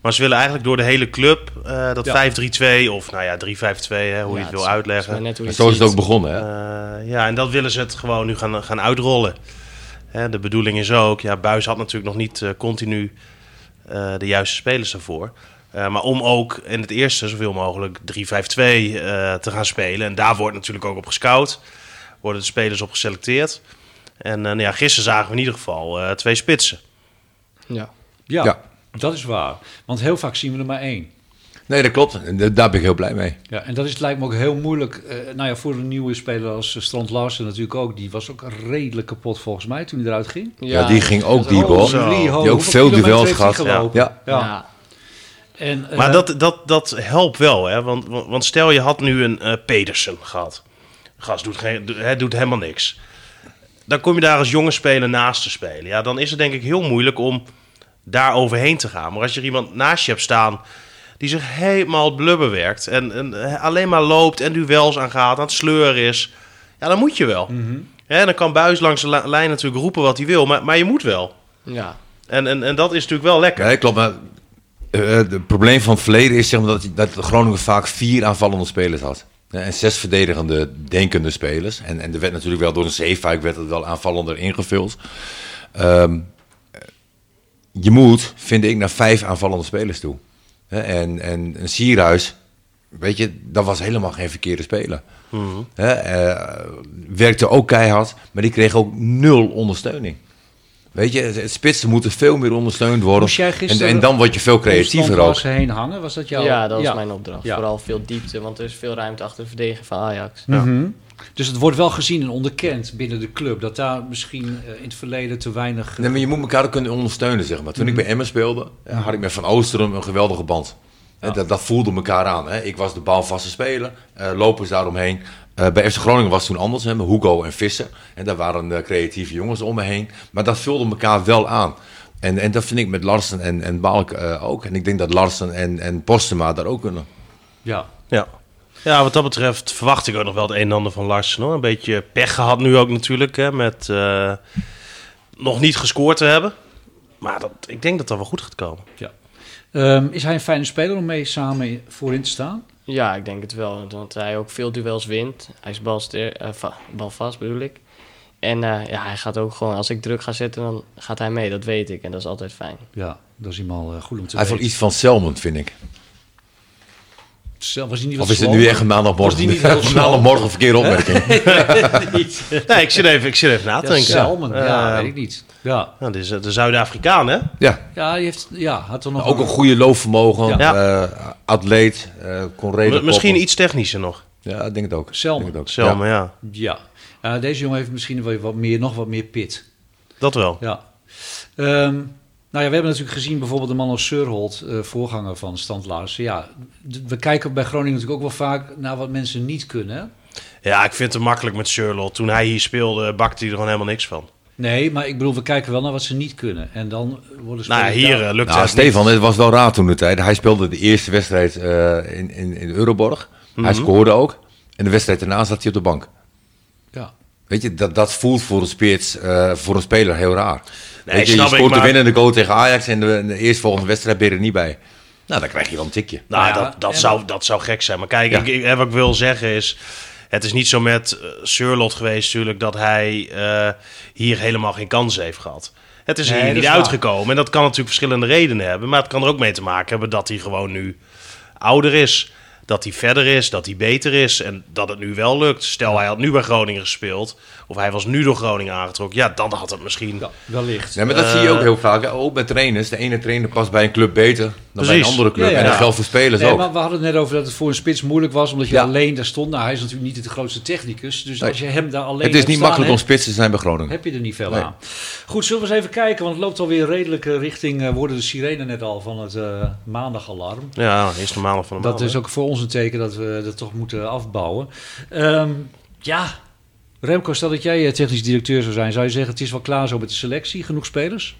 [SPEAKER 4] Maar ze willen eigenlijk door de hele club eh, dat
[SPEAKER 2] Ja.
[SPEAKER 4] 5-3-2 of nou ja, 3-5-2, hè, hoe je het wil uitleggen.
[SPEAKER 5] En zo is het ook begonnen, hè?
[SPEAKER 4] Eh, ja, en dat willen ze het gewoon nu gaan, gaan uitrollen. Hè, de bedoeling is ook, ja, Buis had natuurlijk nog niet eh, continu eh, de juiste spelers daarvoor. Eh, maar om ook in het eerste zoveel mogelijk 3-5-2 eh, te gaan spelen. En daar wordt natuurlijk ook op gescout. Worden de spelers op geselecteerd. En eh, nou ja, gisteren zagen we in ieder geval eh, twee spitsen.
[SPEAKER 3] Ja.
[SPEAKER 2] Ja,
[SPEAKER 5] Ja.
[SPEAKER 2] dat is waar. Want heel vaak zien we er maar één.
[SPEAKER 5] Nee, dat klopt. En da- Daar ben ik heel blij mee.
[SPEAKER 2] Ja, en dat is, lijkt me ook heel moeilijk. eh, nou ja, voor een nieuwe speler als eh, Strand Larsen natuurlijk ook. Die was ook redelijk kapot volgens mij toen hij eruit ging.
[SPEAKER 5] Ja, die ging ook diep, hoor.
[SPEAKER 4] Zo. Die
[SPEAKER 5] ook veel duels gehad. Ja.
[SPEAKER 2] Ja.
[SPEAKER 3] Ja.
[SPEAKER 2] En, eh,
[SPEAKER 4] Maar dat, dat, dat helpt wel, hè? Want, want want stel je had nu een eh, Pedersen gehad. Gast doet, geen, do- hè, doet helemaal niks. Dan kom je daar als jonge speler naast te spelen. Ja, dan is het denk ik heel moeilijk om daar overheen te gaan. Maar als je er iemand naast je hebt staan die zich helemaal blubber werkt... en, en eh, alleen maar loopt en duels aangaat, aan het sleuren is... ja, dan moet je wel. Hè, dan kan Buis langs de la- lijn natuurlijk roepen wat hij wil, maar, maar je moet wel.
[SPEAKER 3] Ja.
[SPEAKER 4] En, en, en dat is natuurlijk wel lekker.
[SPEAKER 5] Ja, dat klopt. Maar eh, het probleem van het verleden is zeg maar, dat, dat Groningen vaak vier aanvallende spelers had. Eh, En zes verdedigende, denkende spelers. En, en er werd natuurlijk wel door een zeefuik werd het wel aanvallender ingevuld. Ehm, je moet, vind ik, naar vijf aanvallende spelers toe. Eh, En, en een Sierhuis, weet je, dat was helemaal geen verkeerde speler.
[SPEAKER 2] Mhm.
[SPEAKER 5] Eh, eh, werkte ook keihard, maar die kreeg ook nul ondersteuning. Weet je, het, het spitsen moeten veel meer ondersteund worden.
[SPEAKER 2] Moest jij gisteren
[SPEAKER 5] en, en dan word je veel creatiever
[SPEAKER 2] Strand
[SPEAKER 5] ook.
[SPEAKER 2] Larsen heen hangen, was dat jouw...
[SPEAKER 3] ja, dat is mijn opdracht.
[SPEAKER 2] Ja.
[SPEAKER 3] Vooral veel diepte, want er is veel ruimte achter de verdediger van Ajax.
[SPEAKER 2] Mhm. Dus het wordt wel gezien en onderkend binnen de club. Dat daar misschien eh, in het verleden te weinig... eh,
[SPEAKER 5] Nee, maar je moet elkaar ook kunnen ondersteunen, zeg maar. Toen
[SPEAKER 2] Mhm.
[SPEAKER 5] ik bij Emmen speelde, eh, had ik met Van Oosteren een geweldige band. Eh, Dat, dat voelde elkaar aan. Hè. Ik was de balvaste speler, eh lopers daaromheen. Eh, bij FC Groningen was het toen anders, hè, met Hugo en Visser. En daar waren eh, creatieve jongens om me heen. Maar dat vulde elkaar wel aan. En, en dat vind ik met Larsen en, en Balk eh, ook. En ik denk dat Larsen en, en Postema daar ook kunnen.
[SPEAKER 2] Ja.
[SPEAKER 4] Ja. ja, wat dat betreft verwacht ik ook nog wel het een en ander van Larsen. Hoor. Een beetje pech gehad nu ook natuurlijk, hè, met eh, nog niet gescoord te hebben. Maar dat, ik denk dat dat wel goed gaat komen.
[SPEAKER 2] ja. Ehm, is hij een fijne speler om mee samen in- voorin te staan?
[SPEAKER 3] Ja, ik denk het wel. Want hij ook veel duels wint. Hij is balsteer, eh, va- balvast, bedoel ik. En eh, ja, hij gaat ook gewoon, als ik druk ga zetten, dan gaat hij mee. Dat weet ik en dat is altijd fijn.
[SPEAKER 2] Ja, dat is iemand eh, goed om te
[SPEAKER 5] Hij vond
[SPEAKER 2] weten.
[SPEAKER 5] iets van Selmond, vind ik.
[SPEAKER 2] Zelf was hij niet wat
[SPEAKER 5] Of is het
[SPEAKER 2] slom?
[SPEAKER 5] nu echt een maandagmorgen?
[SPEAKER 2] Was die niet heel snel?
[SPEAKER 5] maandagmorgen een verkeerde opmerking.
[SPEAKER 4] Nee, ik zit even, ik zit even na te
[SPEAKER 2] Ja,
[SPEAKER 4] denken.
[SPEAKER 2] Salmon, ja,
[SPEAKER 4] Eh,
[SPEAKER 2] weet ik niet. Ja,
[SPEAKER 4] nou, dit is eh, de Zuid-Afrikaan, hè?
[SPEAKER 5] Ja,
[SPEAKER 2] ja, die heeft, ja had er nog
[SPEAKER 5] Ook een goede loopvermogen,
[SPEAKER 4] Ja.
[SPEAKER 5] eh, atleet, eh, kon redelijk
[SPEAKER 4] M- misschien
[SPEAKER 5] koppen.
[SPEAKER 4] iets technischer nog.
[SPEAKER 5] Ja, ik denk het ook.
[SPEAKER 2] Selma.
[SPEAKER 5] Ik denk het ook.
[SPEAKER 4] Selma, ja.
[SPEAKER 2] Ja, Eh, deze jongen heeft misschien wel wat meer, nog wat meer pit.
[SPEAKER 4] Dat wel.
[SPEAKER 2] Ja. Ehm, nou ja, we hebben natuurlijk gezien bijvoorbeeld de man als Surholt, eh, voorganger van Stand Larsen. Ja, d- we kijken bij Groningen natuurlijk ook wel vaak naar wat mensen niet kunnen. hè?
[SPEAKER 4] Ja, ik vind het makkelijk met Sherlock. Toen hij hier speelde, bakte hij er gewoon helemaal niks van.
[SPEAKER 2] Nee, maar ik bedoel, we kijken wel naar wat ze niet kunnen. En dan worden ze...
[SPEAKER 4] Nou, ja, hier
[SPEAKER 5] Ja.
[SPEAKER 4] eh, lukt
[SPEAKER 5] Nou,
[SPEAKER 4] het echt
[SPEAKER 5] Stefan, het was wel raar toen de tijd. Hij speelde de eerste wedstrijd eh, in, in, in Euroborg.
[SPEAKER 4] Mhm.
[SPEAKER 5] Hij scoorde ook. En de wedstrijd daarna zat hij op de bank.
[SPEAKER 2] Ja.
[SPEAKER 5] Weet je, dat, dat voelt voor een, spits, eh, voor een speler heel raar.
[SPEAKER 4] Nee,
[SPEAKER 5] Weet je, je
[SPEAKER 4] snap ik,
[SPEAKER 5] scoort de
[SPEAKER 4] maar-
[SPEAKER 5] winnende goal tegen Ajax en de, de eerstvolgende wedstrijd ben je er niet bij. Nou, dan krijg je wel een tikje.
[SPEAKER 4] Nou,
[SPEAKER 2] Ja,
[SPEAKER 4] dat, dat,
[SPEAKER 2] en-
[SPEAKER 4] zou, dat zou gek zijn. Maar kijk,
[SPEAKER 5] Ja.
[SPEAKER 4] ik, ik- hè, wat ik wil zeggen is... Het is niet zo met eh, Surlot geweest natuurlijk... dat hij eh, hier helemaal geen kans heeft gehad. Het is er
[SPEAKER 2] Nee,
[SPEAKER 4] hier
[SPEAKER 2] dat
[SPEAKER 4] niet
[SPEAKER 2] is waar.
[SPEAKER 4] uitgekomen. En dat kan natuurlijk verschillende redenen hebben. Maar het kan er ook mee te maken hebben dat hij gewoon nu ouder is. Dat hij verder is, dat hij beter is. En dat het nu wel lukt. Stel, hij had nu bij Groningen gespeeld. Of hij was nu door Groningen aangetrokken. Ja, dan had het misschien...
[SPEAKER 2] Ja, wellicht.
[SPEAKER 5] Nee, maar dat
[SPEAKER 4] Eh,
[SPEAKER 5] zie je ook heel vaak. hè. Ook met trainers. De ene trainer past bij een club beter dan bij een
[SPEAKER 4] Precies.
[SPEAKER 5] andere club.
[SPEAKER 2] Ja, ja.
[SPEAKER 5] En dat
[SPEAKER 2] Ja.
[SPEAKER 5] geldt voor spelers
[SPEAKER 2] Nee,
[SPEAKER 5] ook.
[SPEAKER 2] maar we hadden het net over dat het voor een spits moeilijk was, omdat je
[SPEAKER 5] Ja.
[SPEAKER 2] alleen daar stond. Nou, hij is natuurlijk niet de grootste technicus, dus
[SPEAKER 5] Nee.
[SPEAKER 2] als je hem daar alleen
[SPEAKER 5] Het is
[SPEAKER 2] hebt
[SPEAKER 5] niet
[SPEAKER 2] staan,
[SPEAKER 5] makkelijk om
[SPEAKER 2] heb-
[SPEAKER 5] spits te zijn bij Groningen.
[SPEAKER 2] heb je er niet veel
[SPEAKER 5] Nee.
[SPEAKER 2] aan. Goed, zullen we eens even kijken, want het loopt alweer redelijk eh, richting, eh, worden de sirenen net al van het eh, maandagalarm.
[SPEAKER 4] Ja, is normaal van de
[SPEAKER 2] Dat
[SPEAKER 3] Nou,
[SPEAKER 2] is ook voor ons een teken dat we dat toch moeten afbouwen. Ehm, ja, Remco, stel dat jij eh, technisch directeur zou zijn, zou je zeggen het is wel klaar zo met de selectie, genoeg spelers?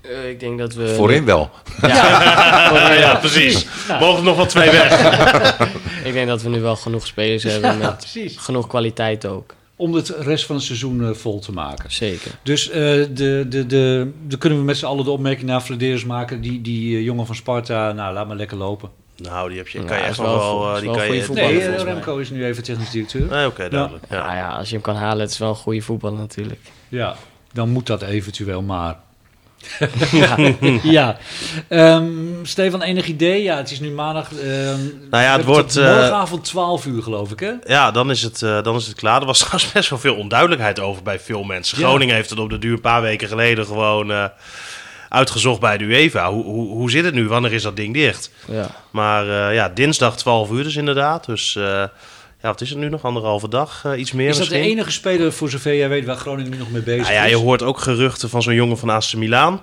[SPEAKER 3] Eh, ik denk dat we...
[SPEAKER 5] Voorin wel.
[SPEAKER 4] Ja, precies. Mogen er nog wel twee weg.
[SPEAKER 3] Ik denk dat we nu wel genoeg spelers hebben met
[SPEAKER 2] precies.
[SPEAKER 3] genoeg kwaliteit ook.
[SPEAKER 2] Om het rest van het seizoen eh, vol te maken.
[SPEAKER 3] Zeker.
[SPEAKER 2] Dus eh, de, de, de, de kunnen we met z'n allen de opmerking naar Vladeris maken. Die, die eh, jongen van Sparta, nou laat maar lekker lopen.
[SPEAKER 4] Nou, die heb je,
[SPEAKER 3] Ja,
[SPEAKER 4] kan je
[SPEAKER 3] is
[SPEAKER 4] echt
[SPEAKER 3] wel
[SPEAKER 4] nog wel...
[SPEAKER 3] goed,
[SPEAKER 4] eh,
[SPEAKER 3] is
[SPEAKER 4] die
[SPEAKER 3] wel
[SPEAKER 4] kan
[SPEAKER 3] goede
[SPEAKER 4] je
[SPEAKER 3] voetbal.
[SPEAKER 2] Nee,
[SPEAKER 3] Nee,
[SPEAKER 2] eh,
[SPEAKER 3] volgens mij.
[SPEAKER 2] Remco is nu even technisch directeur.
[SPEAKER 4] Nee, oké, duidelijk. Ja.
[SPEAKER 3] Nou ja, als je hem kan halen, het is wel een goede voetbal natuurlijk.
[SPEAKER 2] Ja, dan moet dat eventueel maar. ja. ja. Ehm, Stefan, enig idee? Ja, het is nu maandag. ehm, we hebben
[SPEAKER 4] Nou wordt,
[SPEAKER 2] tot
[SPEAKER 4] eh,
[SPEAKER 2] morgenavond 12 uur, geloof ik, hè?
[SPEAKER 4] Ja, dan is, het, eh, dan is het klaar. Er was trouwens best wel veel onduidelijkheid over bij veel mensen.
[SPEAKER 2] Ja.
[SPEAKER 4] Groningen heeft het op de duur een paar weken geleden gewoon eh, uitgezocht bij de UEFA. Hoe, hoe, hoe zit het nu? Wanneer is dat ding dicht?
[SPEAKER 3] Ja.
[SPEAKER 4] Maar eh, ja, dinsdag 12 uur dus inderdaad. Dus eh, ja, wat is het nu nog? Anderhalve dag, eh, iets meer
[SPEAKER 2] Is dat de
[SPEAKER 4] misschien.
[SPEAKER 2] enige speler, voor zover jij weet, waar Groningen nu nog mee bezig
[SPEAKER 4] Nou ja,
[SPEAKER 2] is?
[SPEAKER 4] je hoort ook geruchten van zo'n jongen van AC Milaan.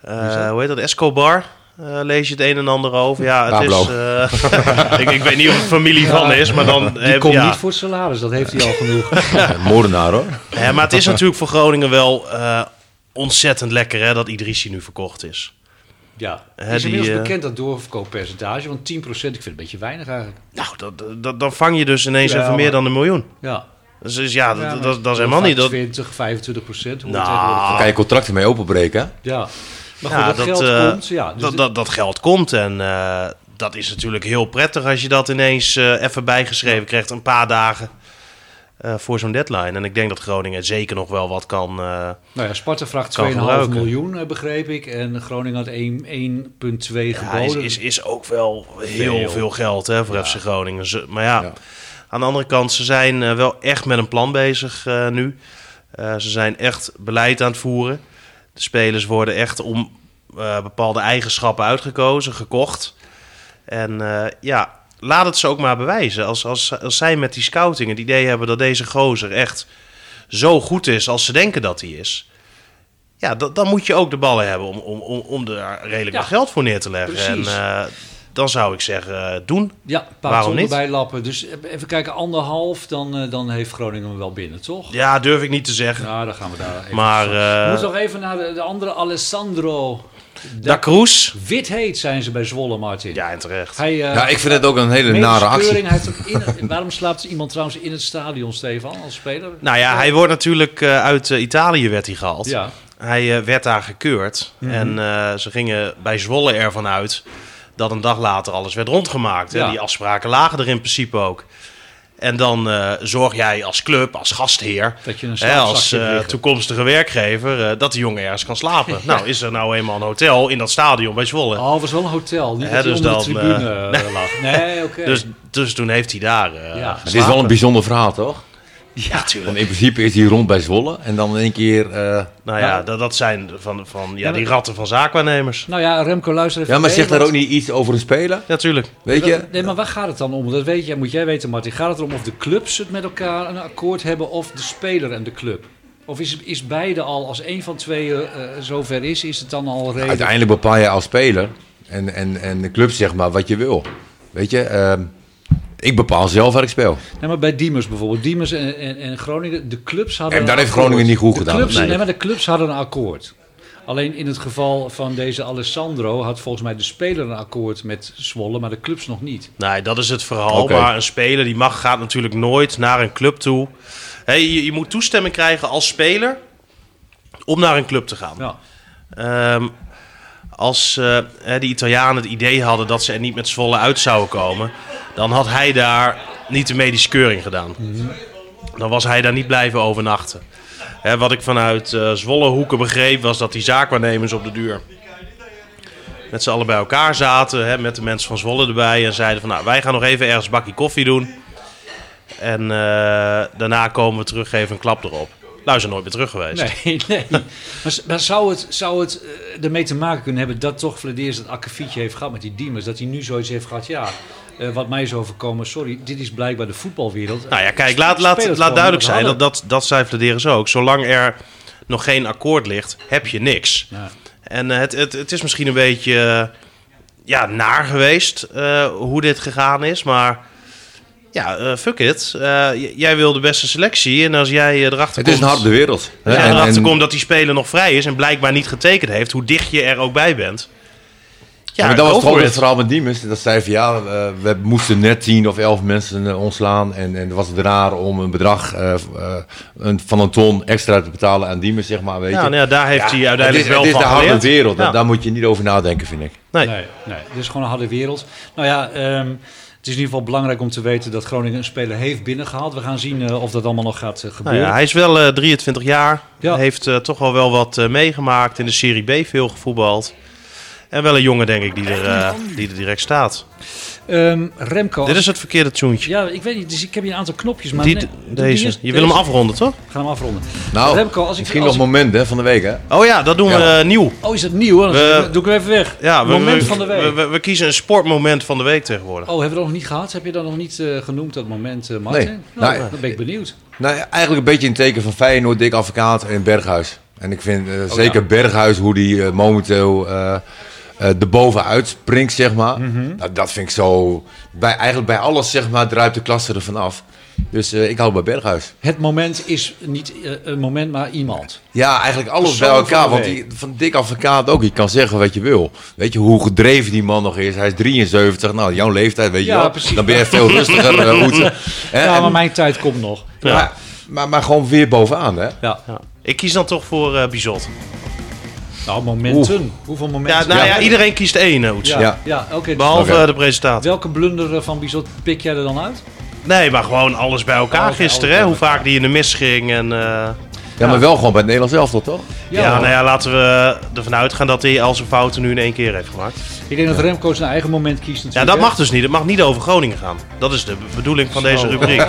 [SPEAKER 4] Eh, hoe heet dat? Escobar. Eh, lees je het een en ander over. Ja, het
[SPEAKER 5] Pablo.
[SPEAKER 4] is... eh, ik, ik weet niet of het familie van is, maar dan...
[SPEAKER 2] Die
[SPEAKER 4] eh,
[SPEAKER 2] komt
[SPEAKER 4] ja.
[SPEAKER 2] niet voor het salaris, dat heeft hij al genoeg.
[SPEAKER 5] Moordenaar hoor.
[SPEAKER 4] Ja, maar het is natuurlijk voor Groningen wel eh, ontzettend lekker hè, dat Idrissi nu verkocht is.
[SPEAKER 2] Ja.
[SPEAKER 4] Hè,
[SPEAKER 2] is
[SPEAKER 4] die,
[SPEAKER 2] inmiddels
[SPEAKER 4] eh,
[SPEAKER 2] bekend dat doorverkooppercentage, want 10% ik vind het een beetje weinig eigenlijk.
[SPEAKER 4] Nou, dat, dat, dan vang je dus ineens
[SPEAKER 2] Ja,
[SPEAKER 4] even
[SPEAKER 2] maar-
[SPEAKER 4] meer dan een miljoen.
[SPEAKER 2] Ja.
[SPEAKER 4] Dus, dus ja,
[SPEAKER 2] Ja,
[SPEAKER 4] dat,
[SPEAKER 2] maar
[SPEAKER 4] dat, dat is helemaal niet... Dat,
[SPEAKER 2] 20, 25 procent.
[SPEAKER 4] Nou,
[SPEAKER 5] Kan je contracten mee openbreken? hè?
[SPEAKER 2] Ja. Maar goed,
[SPEAKER 4] ja,
[SPEAKER 2] dat, geld
[SPEAKER 4] eh,
[SPEAKER 2] komt. Ja, dus
[SPEAKER 4] dat, dat, dat geld komt en eh, dat is natuurlijk heel prettig als je dat ineens eh, even bijgeschreven krijgt. Een paar dagen eh, voor zo'n deadline. En ik denk dat Groningen zeker nog wel wat kan... eh,
[SPEAKER 2] nou ja, Sparta vraagt
[SPEAKER 4] kan
[SPEAKER 2] 2,5
[SPEAKER 4] gebruiken.
[SPEAKER 2] miljoen, eh, begreep ik. En Groningen had 1 1,2
[SPEAKER 4] Ja, is,
[SPEAKER 2] geboden.
[SPEAKER 4] is, is ook wel heel
[SPEAKER 2] Veel.
[SPEAKER 4] veel, geld hè, voor FC Groningen. Ze- maar ja,
[SPEAKER 5] Ja.
[SPEAKER 4] aan de andere kant, ze zijn eh, wel echt met een plan bezig eh, nu. Eh, ze zijn echt beleid aan het voeren. De spelers worden echt om eh, bepaalde eigenschappen uitgekozen, gekocht. En eh, ja, laat het ze ook maar bewijzen. Als, als, als zij met die scouting het idee hebben dat deze gozer echt zo goed is als ze denken dat hij is. Ja, dat, dan moet je ook de ballen hebben om, om, om, om er redelijk
[SPEAKER 2] Ja.
[SPEAKER 4] wat geld voor neer te leggen.
[SPEAKER 2] Precies.
[SPEAKER 4] En eh, dan zou ik zeggen, eh, doen.
[SPEAKER 2] ja, een paar
[SPEAKER 4] waarom
[SPEAKER 2] ton
[SPEAKER 4] niet?
[SPEAKER 2] erbij lappen. Dus eh, even kijken, anderhalf, dan, eh, dan heeft Groningen hem wel binnen, toch?
[SPEAKER 4] Ja, durf ik niet te zeggen.
[SPEAKER 2] Nou, dan gaan we daar even...
[SPEAKER 4] maar
[SPEAKER 2] we
[SPEAKER 4] eh
[SPEAKER 2] moeten nog even naar de, de andere Alessandro.
[SPEAKER 4] Da Cruz?
[SPEAKER 2] Wit heet zijn ze bij Zwolle, Martin.
[SPEAKER 4] Ja, en terecht.
[SPEAKER 2] Hij, eh,
[SPEAKER 5] Ja, Nou, ik vind het ook een hele
[SPEAKER 2] medische
[SPEAKER 5] nare actie.
[SPEAKER 2] keuring, hij heeft hem in- waarom slaapt iemand trouwens in het stadion, Stefan, als speler?
[SPEAKER 4] Nou ja, hij wordt natuurlijk eh, uit eh, Italië werd hij gehaald.
[SPEAKER 2] Ja. Mhm.
[SPEAKER 4] Hij eh, werd daar gekeurd. En eh, ze gingen bij Zwolle ervan uit dat een dag later alles werd rondgemaakt. hè.
[SPEAKER 2] Ja.
[SPEAKER 4] Die afspraken lagen er in principe ook. En dan eh, zorg jij als club, als gastheer,
[SPEAKER 2] Dat je een
[SPEAKER 4] hè, als
[SPEAKER 2] slaapzakje
[SPEAKER 4] eh,
[SPEAKER 2] hebt liggen.
[SPEAKER 4] toekomstige werkgever, eh, dat die jongen ergens kan slapen. nou, is er nou eenmaal een hotel in dat stadion bij Zwolle.
[SPEAKER 2] Oh, het was wel een hotel. Niet
[SPEAKER 4] Hè,
[SPEAKER 2] dat hij
[SPEAKER 4] dus
[SPEAKER 2] onder de
[SPEAKER 4] dan,
[SPEAKER 2] tribune eh, lag. Nee, oké.
[SPEAKER 4] Dus, dus toen heeft hij daar. eh,
[SPEAKER 2] Ja.
[SPEAKER 5] Het is wel een bijzonder verhaal, toch?
[SPEAKER 4] ja, tuurlijk.
[SPEAKER 5] Want in principe is hij rond bij Zwolle en dan in één keer... eh,
[SPEAKER 4] Nou ja, dat, dat zijn van, van ja, die ratten van zaakwaarnemers.
[SPEAKER 2] Nou ja, Remco, luister even
[SPEAKER 5] Ja, maar
[SPEAKER 2] mee,
[SPEAKER 5] zegt daar
[SPEAKER 2] want-
[SPEAKER 5] ook niet iets over een speler?
[SPEAKER 4] Natuurlijk.
[SPEAKER 5] Weet je?
[SPEAKER 2] Nee, maar waar gaat het dan om? Dat weet jij, moet jij weten, Martin. Gaat het erom of de clubs het met elkaar een akkoord hebben of de speler en de club? Of is, is beide al, als één van twee eh, eh, zover is, is het dan al reden?
[SPEAKER 5] Uiteindelijk bepaal je als speler en, en, en de club zeg maar wat je wil. Weet je? ehm, ik bepaal zelf waar ik speel.
[SPEAKER 2] Nee, maar bij Diemers bijvoorbeeld. Diemers en, en, en Groningen, de clubs hadden.
[SPEAKER 5] En
[SPEAKER 2] een
[SPEAKER 5] daar heeft
[SPEAKER 2] akkoord.
[SPEAKER 5] Groningen niet goed
[SPEAKER 2] de
[SPEAKER 5] gedaan.
[SPEAKER 2] Clubs, nee.
[SPEAKER 5] Nee.
[SPEAKER 2] maar de clubs hadden een akkoord. Alleen in het geval van deze Alessandro had volgens mij de speler een akkoord met Zwolle, maar de clubs nog niet.
[SPEAKER 4] Nee, dat is het verhaal.
[SPEAKER 5] Oké.
[SPEAKER 4] Maar een speler die mag, gaat natuurlijk nooit naar een club toe. Hé, je, je moet toestemming krijgen als speler om naar een club te gaan.
[SPEAKER 2] Ja.
[SPEAKER 4] Ehm, als eh, hè, die Italianen het idee hadden dat ze er niet met Zwolle uit zouden komen, dan had hij daar niet de medische keuring gedaan. Dan was hij daar niet blijven overnachten. Hè, wat ik vanuit eh Zwolle hoeken begreep, was dat die zaakwaarnemers op de duur met z'n allen bij elkaar zaten, hè, met de mensen van Zwolle erbij, en zeiden van nou, wij gaan nog even ergens een bakje koffie doen. En eh, daarna komen we terug, geven een klap erop. Nou, is er nooit meer terug geweest.
[SPEAKER 2] Nee, nee. maar, z- maar zou het, zou het eh, ermee te maken kunnen hebben dat toch Vladeers dat akkefietje heeft gehad met die Diemers? Dat hij nu zoiets heeft gehad, ja, eh, wat mij is overkomen, sorry, dit is blijkbaar de voetbalwereld.
[SPEAKER 4] Nou ja, kijk, laat, laat,
[SPEAKER 2] Spelers
[SPEAKER 4] laat
[SPEAKER 2] gewoon
[SPEAKER 4] duidelijk
[SPEAKER 2] wat
[SPEAKER 4] zijn. Dat,
[SPEAKER 2] hadden.
[SPEAKER 4] dat, dat zei Vladeris ook. Zolang er nog geen akkoord ligt, heb je niks.
[SPEAKER 2] Ja.
[SPEAKER 4] En eh, het, het, het is misschien een beetje eh, ja, naar geweest eh, hoe dit gegaan is. Maar ja, eh, fuck it. Eh, j- jij wil de beste selectie. En als jij eh, erachter
[SPEAKER 5] Het
[SPEAKER 4] komt...
[SPEAKER 5] is een harde wereld. hè,
[SPEAKER 4] als jij
[SPEAKER 5] en-
[SPEAKER 4] erachter
[SPEAKER 5] en-
[SPEAKER 4] komt dat die speler nog vrij is en blijkbaar niet getekend heeft, hoe dicht je er ook bij bent.
[SPEAKER 5] Ja, maar dat
[SPEAKER 4] go
[SPEAKER 5] was
[SPEAKER 4] for
[SPEAKER 5] toch
[SPEAKER 4] it.
[SPEAKER 5] het verhaal met Diemers. Dat zei van ja, eh, we moesten net 10 of 11 mensen eh, ontslaan. En, en was het raar om een bedrag eh, eh, een, van een ton extra te betalen aan Diemers, zeg maar. Weet
[SPEAKER 4] Ja,
[SPEAKER 5] je.
[SPEAKER 4] nou ja, daar heeft hij
[SPEAKER 5] het
[SPEAKER 4] uiteindelijk
[SPEAKER 5] is,
[SPEAKER 4] wel
[SPEAKER 5] het is
[SPEAKER 4] van
[SPEAKER 5] de harde
[SPEAKER 4] geleerd.
[SPEAKER 5] wereld.
[SPEAKER 4] Ja.
[SPEAKER 5] Daar moet je niet over nadenken, vind ik.
[SPEAKER 4] Nee.
[SPEAKER 2] Nee, nee, dit is gewoon een harde wereld. Nou ja, ehm, is in ieder geval belangrijk om te weten dat Groningen een speler heeft binnengehaald. We gaan zien eh, of dat allemaal nog gaat eh,
[SPEAKER 4] Nou
[SPEAKER 2] gebeuren.
[SPEAKER 4] ja, hij is wel eh, 23 jaar.
[SPEAKER 2] Ja.
[SPEAKER 4] Heeft eh, toch wel wel wat eh, meegemaakt. In de Serie B veel gevoetbald. En wel een jongen, denk ik, die er, eh, die er direct staat.
[SPEAKER 2] Ehm, Remco.
[SPEAKER 4] Dit is het verkeerde toontje.
[SPEAKER 2] Ja, ik weet niet. Dus ik heb hier een aantal knopjes. Maar
[SPEAKER 4] Die,
[SPEAKER 2] nee,
[SPEAKER 4] d-
[SPEAKER 2] doe die
[SPEAKER 4] deze.
[SPEAKER 2] eerst-
[SPEAKER 4] Je wil hem
[SPEAKER 2] deze.
[SPEAKER 4] afronden, toch?
[SPEAKER 2] Ik ga hem afronden.
[SPEAKER 5] Nou,
[SPEAKER 2] Remco, als ik-
[SPEAKER 5] misschien
[SPEAKER 2] als
[SPEAKER 5] nog moment hè, van de week, hè?
[SPEAKER 4] Oh ja, dat doen we
[SPEAKER 5] Ja.
[SPEAKER 4] eh, nieuw.
[SPEAKER 2] Oh, is dat nieuw? Dan
[SPEAKER 4] We-
[SPEAKER 2] doe ik hem even weg.
[SPEAKER 4] Ja, we,
[SPEAKER 2] moment
[SPEAKER 4] we-
[SPEAKER 2] van de week.
[SPEAKER 4] We, we- we kiezen een sportmoment van de week tegenwoordig.
[SPEAKER 2] Oh, hebben we dat nog niet gehad? Heb je dat nog niet eh, genoemd, dat moment, eh, Martin?
[SPEAKER 5] Nee.
[SPEAKER 2] Nou,
[SPEAKER 5] Nee.
[SPEAKER 2] Dan ben ik benieuwd.
[SPEAKER 5] Nou, eigenlijk een beetje in het teken van Feyenoord, Dick Advocaat en Berghuis. En ik vind eh,
[SPEAKER 2] Oh,
[SPEAKER 5] zeker Berghuis, hoe die eh, momenteel eh eh erboven uitspringt, zeg maar.
[SPEAKER 2] Mhm.
[SPEAKER 5] Nou, dat vind ik zo... Bij, eigenlijk bij alles, zeg maar, druipt de klasse er vanaf. Dus eh, ik hou bij Berghuis.
[SPEAKER 2] Het moment is niet eh, een moment, maar iemand.
[SPEAKER 5] Ja, eigenlijk alles bij
[SPEAKER 2] Persoon van
[SPEAKER 5] elkaar.
[SPEAKER 2] de
[SPEAKER 5] Want
[SPEAKER 2] week.
[SPEAKER 5] die, van Dick Advocaat ook. Je kan zeggen wat je wil. Weet je hoe gedreven die man nog is. Hij is 73. Nou, jouw leeftijd, weet je
[SPEAKER 2] Ja,
[SPEAKER 5] wel.
[SPEAKER 2] precies.
[SPEAKER 5] Dan ben je veel rustiger. eh, goed. Hè,
[SPEAKER 2] ja, maar
[SPEAKER 5] en-
[SPEAKER 2] mijn tijd komt nog.
[SPEAKER 5] maar, maar, maar gewoon weer bovenaan, hè?
[SPEAKER 2] Ja.
[SPEAKER 4] Ik kies dan toch voor eh Bizot.
[SPEAKER 2] Nou, momenten. Hoeveel momenten?
[SPEAKER 4] Ja, nou ja, iedereen kiest één, Oets.
[SPEAKER 2] Ja, ja.
[SPEAKER 5] Ja.
[SPEAKER 2] oké.
[SPEAKER 4] Behalve
[SPEAKER 5] Oké.
[SPEAKER 4] eh, de presentatie.
[SPEAKER 2] Welke blunder eh, van Bizot pik jij er dan uit?
[SPEAKER 4] Nee, maar gewoon alles bij elkaar
[SPEAKER 2] Alles bij
[SPEAKER 4] gisteren.
[SPEAKER 2] alles
[SPEAKER 4] Hè?
[SPEAKER 2] bij
[SPEAKER 4] Hoe vaak die in de mis ging. En, eh, ja,
[SPEAKER 5] Ja, maar wel gewoon bij het Nederlands elftal, toch?
[SPEAKER 4] nou ja, laten we ervan uitgaan dat hij al zijn fouten nu in één keer heeft gemaakt.
[SPEAKER 2] Ik denk dat Remco zijn eigen moment kiest
[SPEAKER 4] Ja,
[SPEAKER 2] natuurlijk.
[SPEAKER 4] dat mag dus niet. Het mag niet over Groningen gaan. Dat is de be- bedoeling van deze rubriek.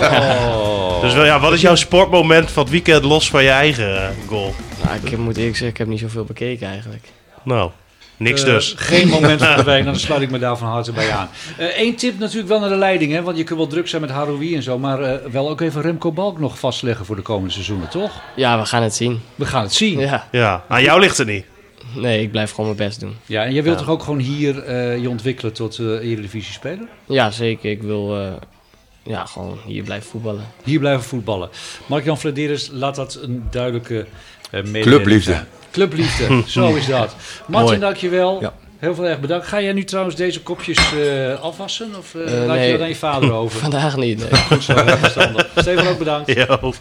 [SPEAKER 4] Dus wel, ja, wat is jouw sportmoment van het weekend los van je eigen eh, goal?
[SPEAKER 3] Nou, ik moet eerlijk zeggen, ik heb niet zoveel bekeken eigenlijk.
[SPEAKER 4] Nou, niks
[SPEAKER 2] Eh,
[SPEAKER 4] dus.
[SPEAKER 2] Geen moment van de week, dan sluit ik me daar van harte bij aan. Eén tip natuurlijk wel naar de leiding, hè, want je kunt wel druk zijn met Haroui en zo. Maar eh, wel ook even Remco Balk nog vastleggen voor de komende seizoenen, toch?
[SPEAKER 3] Ja, we gaan het zien.
[SPEAKER 2] We gaan het zien.
[SPEAKER 3] Ja.
[SPEAKER 4] Ja, aan jou ligt het niet.
[SPEAKER 3] Nee, ik blijf gewoon mijn best doen.
[SPEAKER 2] Ja, en jij wilt toch ook gewoon hier eh, je ontwikkelen tot eh Eredivisie speler?
[SPEAKER 3] Ja, zeker. Ik wil eh, ja, gewoon hier blijven voetballen.
[SPEAKER 2] Hier blijven voetballen. Mark-Jan Vladeres, laat dat een duidelijke eh mededeling
[SPEAKER 5] Clubliefde.
[SPEAKER 2] zijn. Clubliefde, zo is dat. Martin,
[SPEAKER 4] Mooi.
[SPEAKER 2] dankjewel.
[SPEAKER 5] Ja.
[SPEAKER 2] Heel veel erg bedankt. Ga jij nu trouwens deze kopjes eh, afwassen? Of eh,
[SPEAKER 3] Eh,
[SPEAKER 2] laat je
[SPEAKER 3] nee.
[SPEAKER 2] dat aan je vader over?
[SPEAKER 3] Vandaag niet, nee.
[SPEAKER 2] Goed zo, verstandig. Steven ook bedankt.
[SPEAKER 4] Yo.